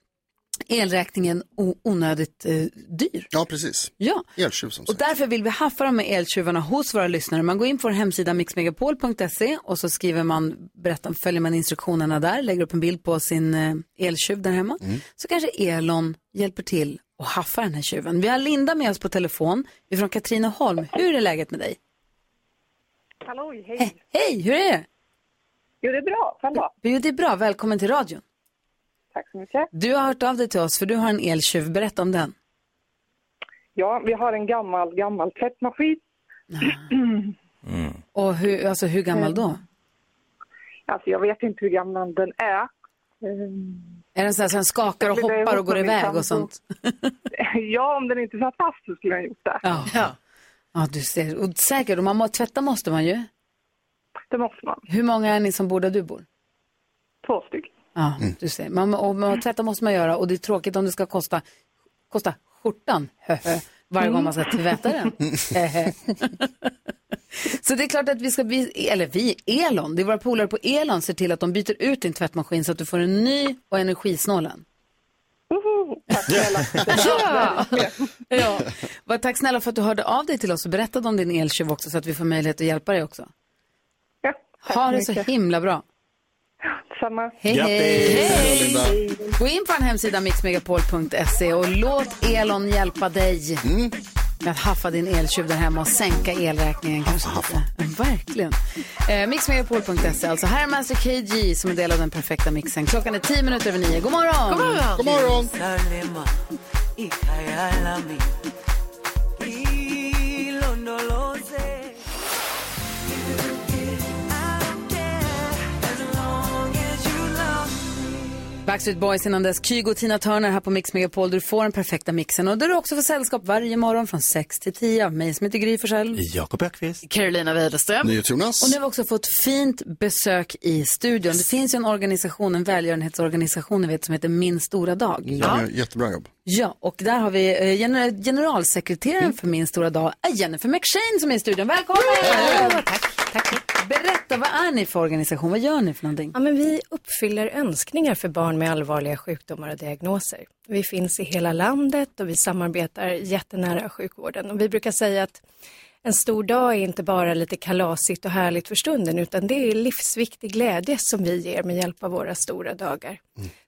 [SPEAKER 1] elräkningen o- onödigt eh, dyr.
[SPEAKER 3] Ja, precis.
[SPEAKER 1] Ja.
[SPEAKER 3] Eltjuv som
[SPEAKER 1] Och därför vill vi haffa dem med eltjuvarna hos våra lyssnare. Man går in på vår hemsida mixmegapol.se och så skriver man, berättar, följer man instruktionerna där, lägger upp en bild på sin eh, eltjuv där hemma. Så kanske Elon hjälper till och haffar den här tjuven. Vi har Linda med oss på telefon. Vi är från Katrineholm. Hur är läget med dig?
[SPEAKER 5] Halloj, hej.
[SPEAKER 1] Hej, hur är det?
[SPEAKER 5] Jo, det är bra. Själv då?
[SPEAKER 1] Jo, det är bra. Välkommen till radion.
[SPEAKER 5] Tack så mycket.
[SPEAKER 1] Du har hört av dig till oss för du har en eltjuv. Berätta om den.
[SPEAKER 5] Ja, vi har en gammal, gammal tvättmaskin.
[SPEAKER 1] Och hur, alltså, hur
[SPEAKER 5] Mm.
[SPEAKER 1] gammal då?
[SPEAKER 5] Alltså, jag vet inte hur gammal den är. Ehm,
[SPEAKER 1] Är den så här så den skakar och
[SPEAKER 5] Jag blev
[SPEAKER 1] hoppar och
[SPEAKER 5] ihop
[SPEAKER 1] går
[SPEAKER 5] med min
[SPEAKER 1] iväg och
[SPEAKER 5] sambo.
[SPEAKER 1] sånt?
[SPEAKER 5] ja, om den inte satt fast så skulle jag ha gjort det.
[SPEAKER 1] Ja. ja. du ser. Och säkert, och man må, tvätta måste man ju.
[SPEAKER 5] Det måste man.
[SPEAKER 1] Hur många är ni som bor där du bor?
[SPEAKER 5] Två stycken.
[SPEAKER 1] Ja,
[SPEAKER 6] Mm.
[SPEAKER 1] du ser. Man, må- och, man, tvätta måste man göra och det är tråkigt om det ska kosta, kosta skjortan höhö, varje gång man ska
[SPEAKER 5] Mm.
[SPEAKER 1] tvätta den. Höhö. så det är klart att vi ska, vi, eller vi, Elon, det är våra polare på Elon ser till att de byter ut din tvättmaskin så att du får en ny och energisnål en. Ja. ja. Vad- Tack snälla för att du hörde av dig till oss och berättade om din eltjuv också så att vi får möjlighet att hjälpa dig också. ha det så
[SPEAKER 5] mycket.
[SPEAKER 1] himla bra.
[SPEAKER 5] Samma.
[SPEAKER 1] Hej, hej. Gå in på en hemsida mixmegapol.se och låt Elon hjälpa dig med att haffa din eltjuv där hemma och sänka elräkningen kanske lite. Verkligen. Eh, mixmegapol.se alltså. Här är Master KG som är del av den perfekta mixen. Klockan är 10 minuter över 9. God morgon!
[SPEAKER 10] God morgon!
[SPEAKER 1] Backstreet Boys innan dess, Kygo och Tina Turner här på Mix Megapol där du får den perfekta mixen och där du också får sällskap varje morgon från 6 till 10 av mig som heter Gry Forssell.
[SPEAKER 6] Jakob Ökvist.
[SPEAKER 15] Carolina Widerström.
[SPEAKER 1] Och nu har vi också fått fint besök i studion. Det finns ju en organisation, en välgörenhetsorganisation ni vet, som heter Min stora dag.
[SPEAKER 3] Ja. men Jättebra jobb.
[SPEAKER 1] Ja, och där har vi eh, gener- generalsekreteraren
[SPEAKER 3] Mm.
[SPEAKER 1] för Min stora dag, eh, Jennifer McShane som är i studion. Välkommen! Tack, tack. Berätta, vad är ni för organisation? Vad gör ni för någonting?
[SPEAKER 22] Ja, men vi uppfyller önskningar för barn med allvarliga sjukdomar och diagnoser. Vi finns i hela landet och vi samarbetar jättenära sjukvården. Och vi brukar säga att en stor dag är inte bara lite kalasigt och härligt för stunden, utan det är livsviktig glädje som vi ger med hjälp av våra stora dagar.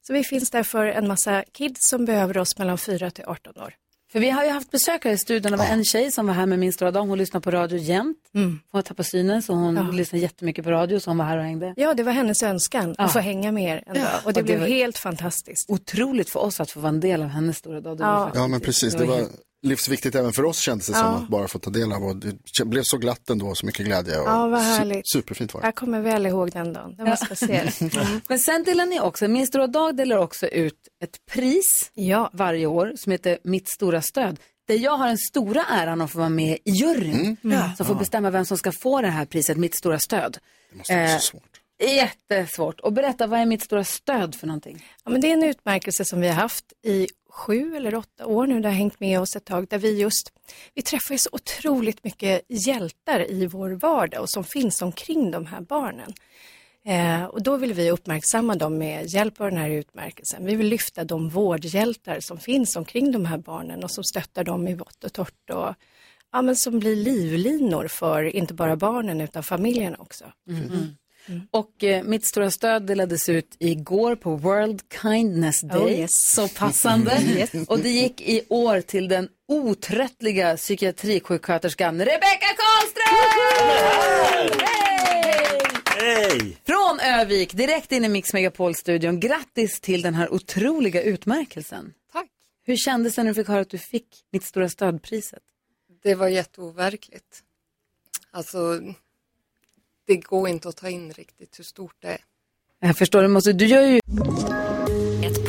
[SPEAKER 22] Så vi finns där för en massa kids som behöver oss mellan 4 till 18 år.
[SPEAKER 1] För vi har ju haft besökare i studion. Det var en tjej som var här med Min stora dag. Hon lyssnar på radio jämt.
[SPEAKER 22] Mm.
[SPEAKER 1] Hon har tappat synen så hon lyssnar jättemycket på radio så hon var här och hängde.
[SPEAKER 22] Ja, det var hennes önskan att
[SPEAKER 1] Ja.
[SPEAKER 22] få hänga med er en
[SPEAKER 1] Ja.
[SPEAKER 22] dag och
[SPEAKER 1] Och
[SPEAKER 22] det,
[SPEAKER 1] det
[SPEAKER 22] blev
[SPEAKER 1] var-
[SPEAKER 22] helt fantastiskt.
[SPEAKER 1] Otroligt för oss att få vara en del av hennes stora dag. Det
[SPEAKER 22] Ja.
[SPEAKER 1] var faktiskt-
[SPEAKER 3] Ja, men precis. Det var livsviktigt även för oss kändes det som
[SPEAKER 22] Ja.
[SPEAKER 3] att bara få ta del av. Och det k- blev så glatt ändå, och så mycket glädje. Och
[SPEAKER 22] Ja, vad
[SPEAKER 3] su-
[SPEAKER 22] härligt.
[SPEAKER 3] Superfint var det.
[SPEAKER 22] Jag kommer väl ihåg den dagen. Den var speciell.
[SPEAKER 1] Men sen delar ni också, Min stora dag delar också ut ett pris varje år som heter Mitt stora stöd. Där jag har den stora äran att få vara med i juryn. Mm.
[SPEAKER 23] Ja.
[SPEAKER 1] Som får bestämma vem som ska få det här priset, Mitt stora stöd. Eh, Det måste vara så svårt. Jättesvårt. Och berätta, vad är Mitt stora stöd för någonting?
[SPEAKER 22] Ja, men det är en utmärkelse som vi har haft i sju eller åtta år nu, det har hängt med oss ett tag, där vi just, vi träffar ju så otroligt mycket hjältar i vår vardag och som finns omkring de här barnen. Eh, och då vill vi uppmärksamma dem med hjälp av den här utmärkelsen. Vi vill lyfta de vårdhjältar som finns omkring de här barnen och som stöttar dem i vått och torrt och ja, men som blir livlinor för inte bara barnen utan familjen också.
[SPEAKER 1] Mm. Och eh, mitt stora stöd delades ut igår på World Kindness Day.
[SPEAKER 22] Oh, yes.
[SPEAKER 1] Så passande.
[SPEAKER 22] Yes.
[SPEAKER 1] Och det gick i år till den otröttliga psykiatrisjuksköterskan Rebecca Karlström!
[SPEAKER 24] Hej!
[SPEAKER 1] Från Övik, direkt in i Mix Megapol-studion. Grattis till den här otroliga utmärkelsen.
[SPEAKER 13] Tack.
[SPEAKER 1] Hur kändes det när du fick höra att du fick mitt stora stödpriset?
[SPEAKER 13] Det var jätteoverkligt. Alltså, det går inte att ta in riktigt hur stort det är.
[SPEAKER 1] Jag förstår, du, måste, du gör ju...
[SPEAKER 25] Ett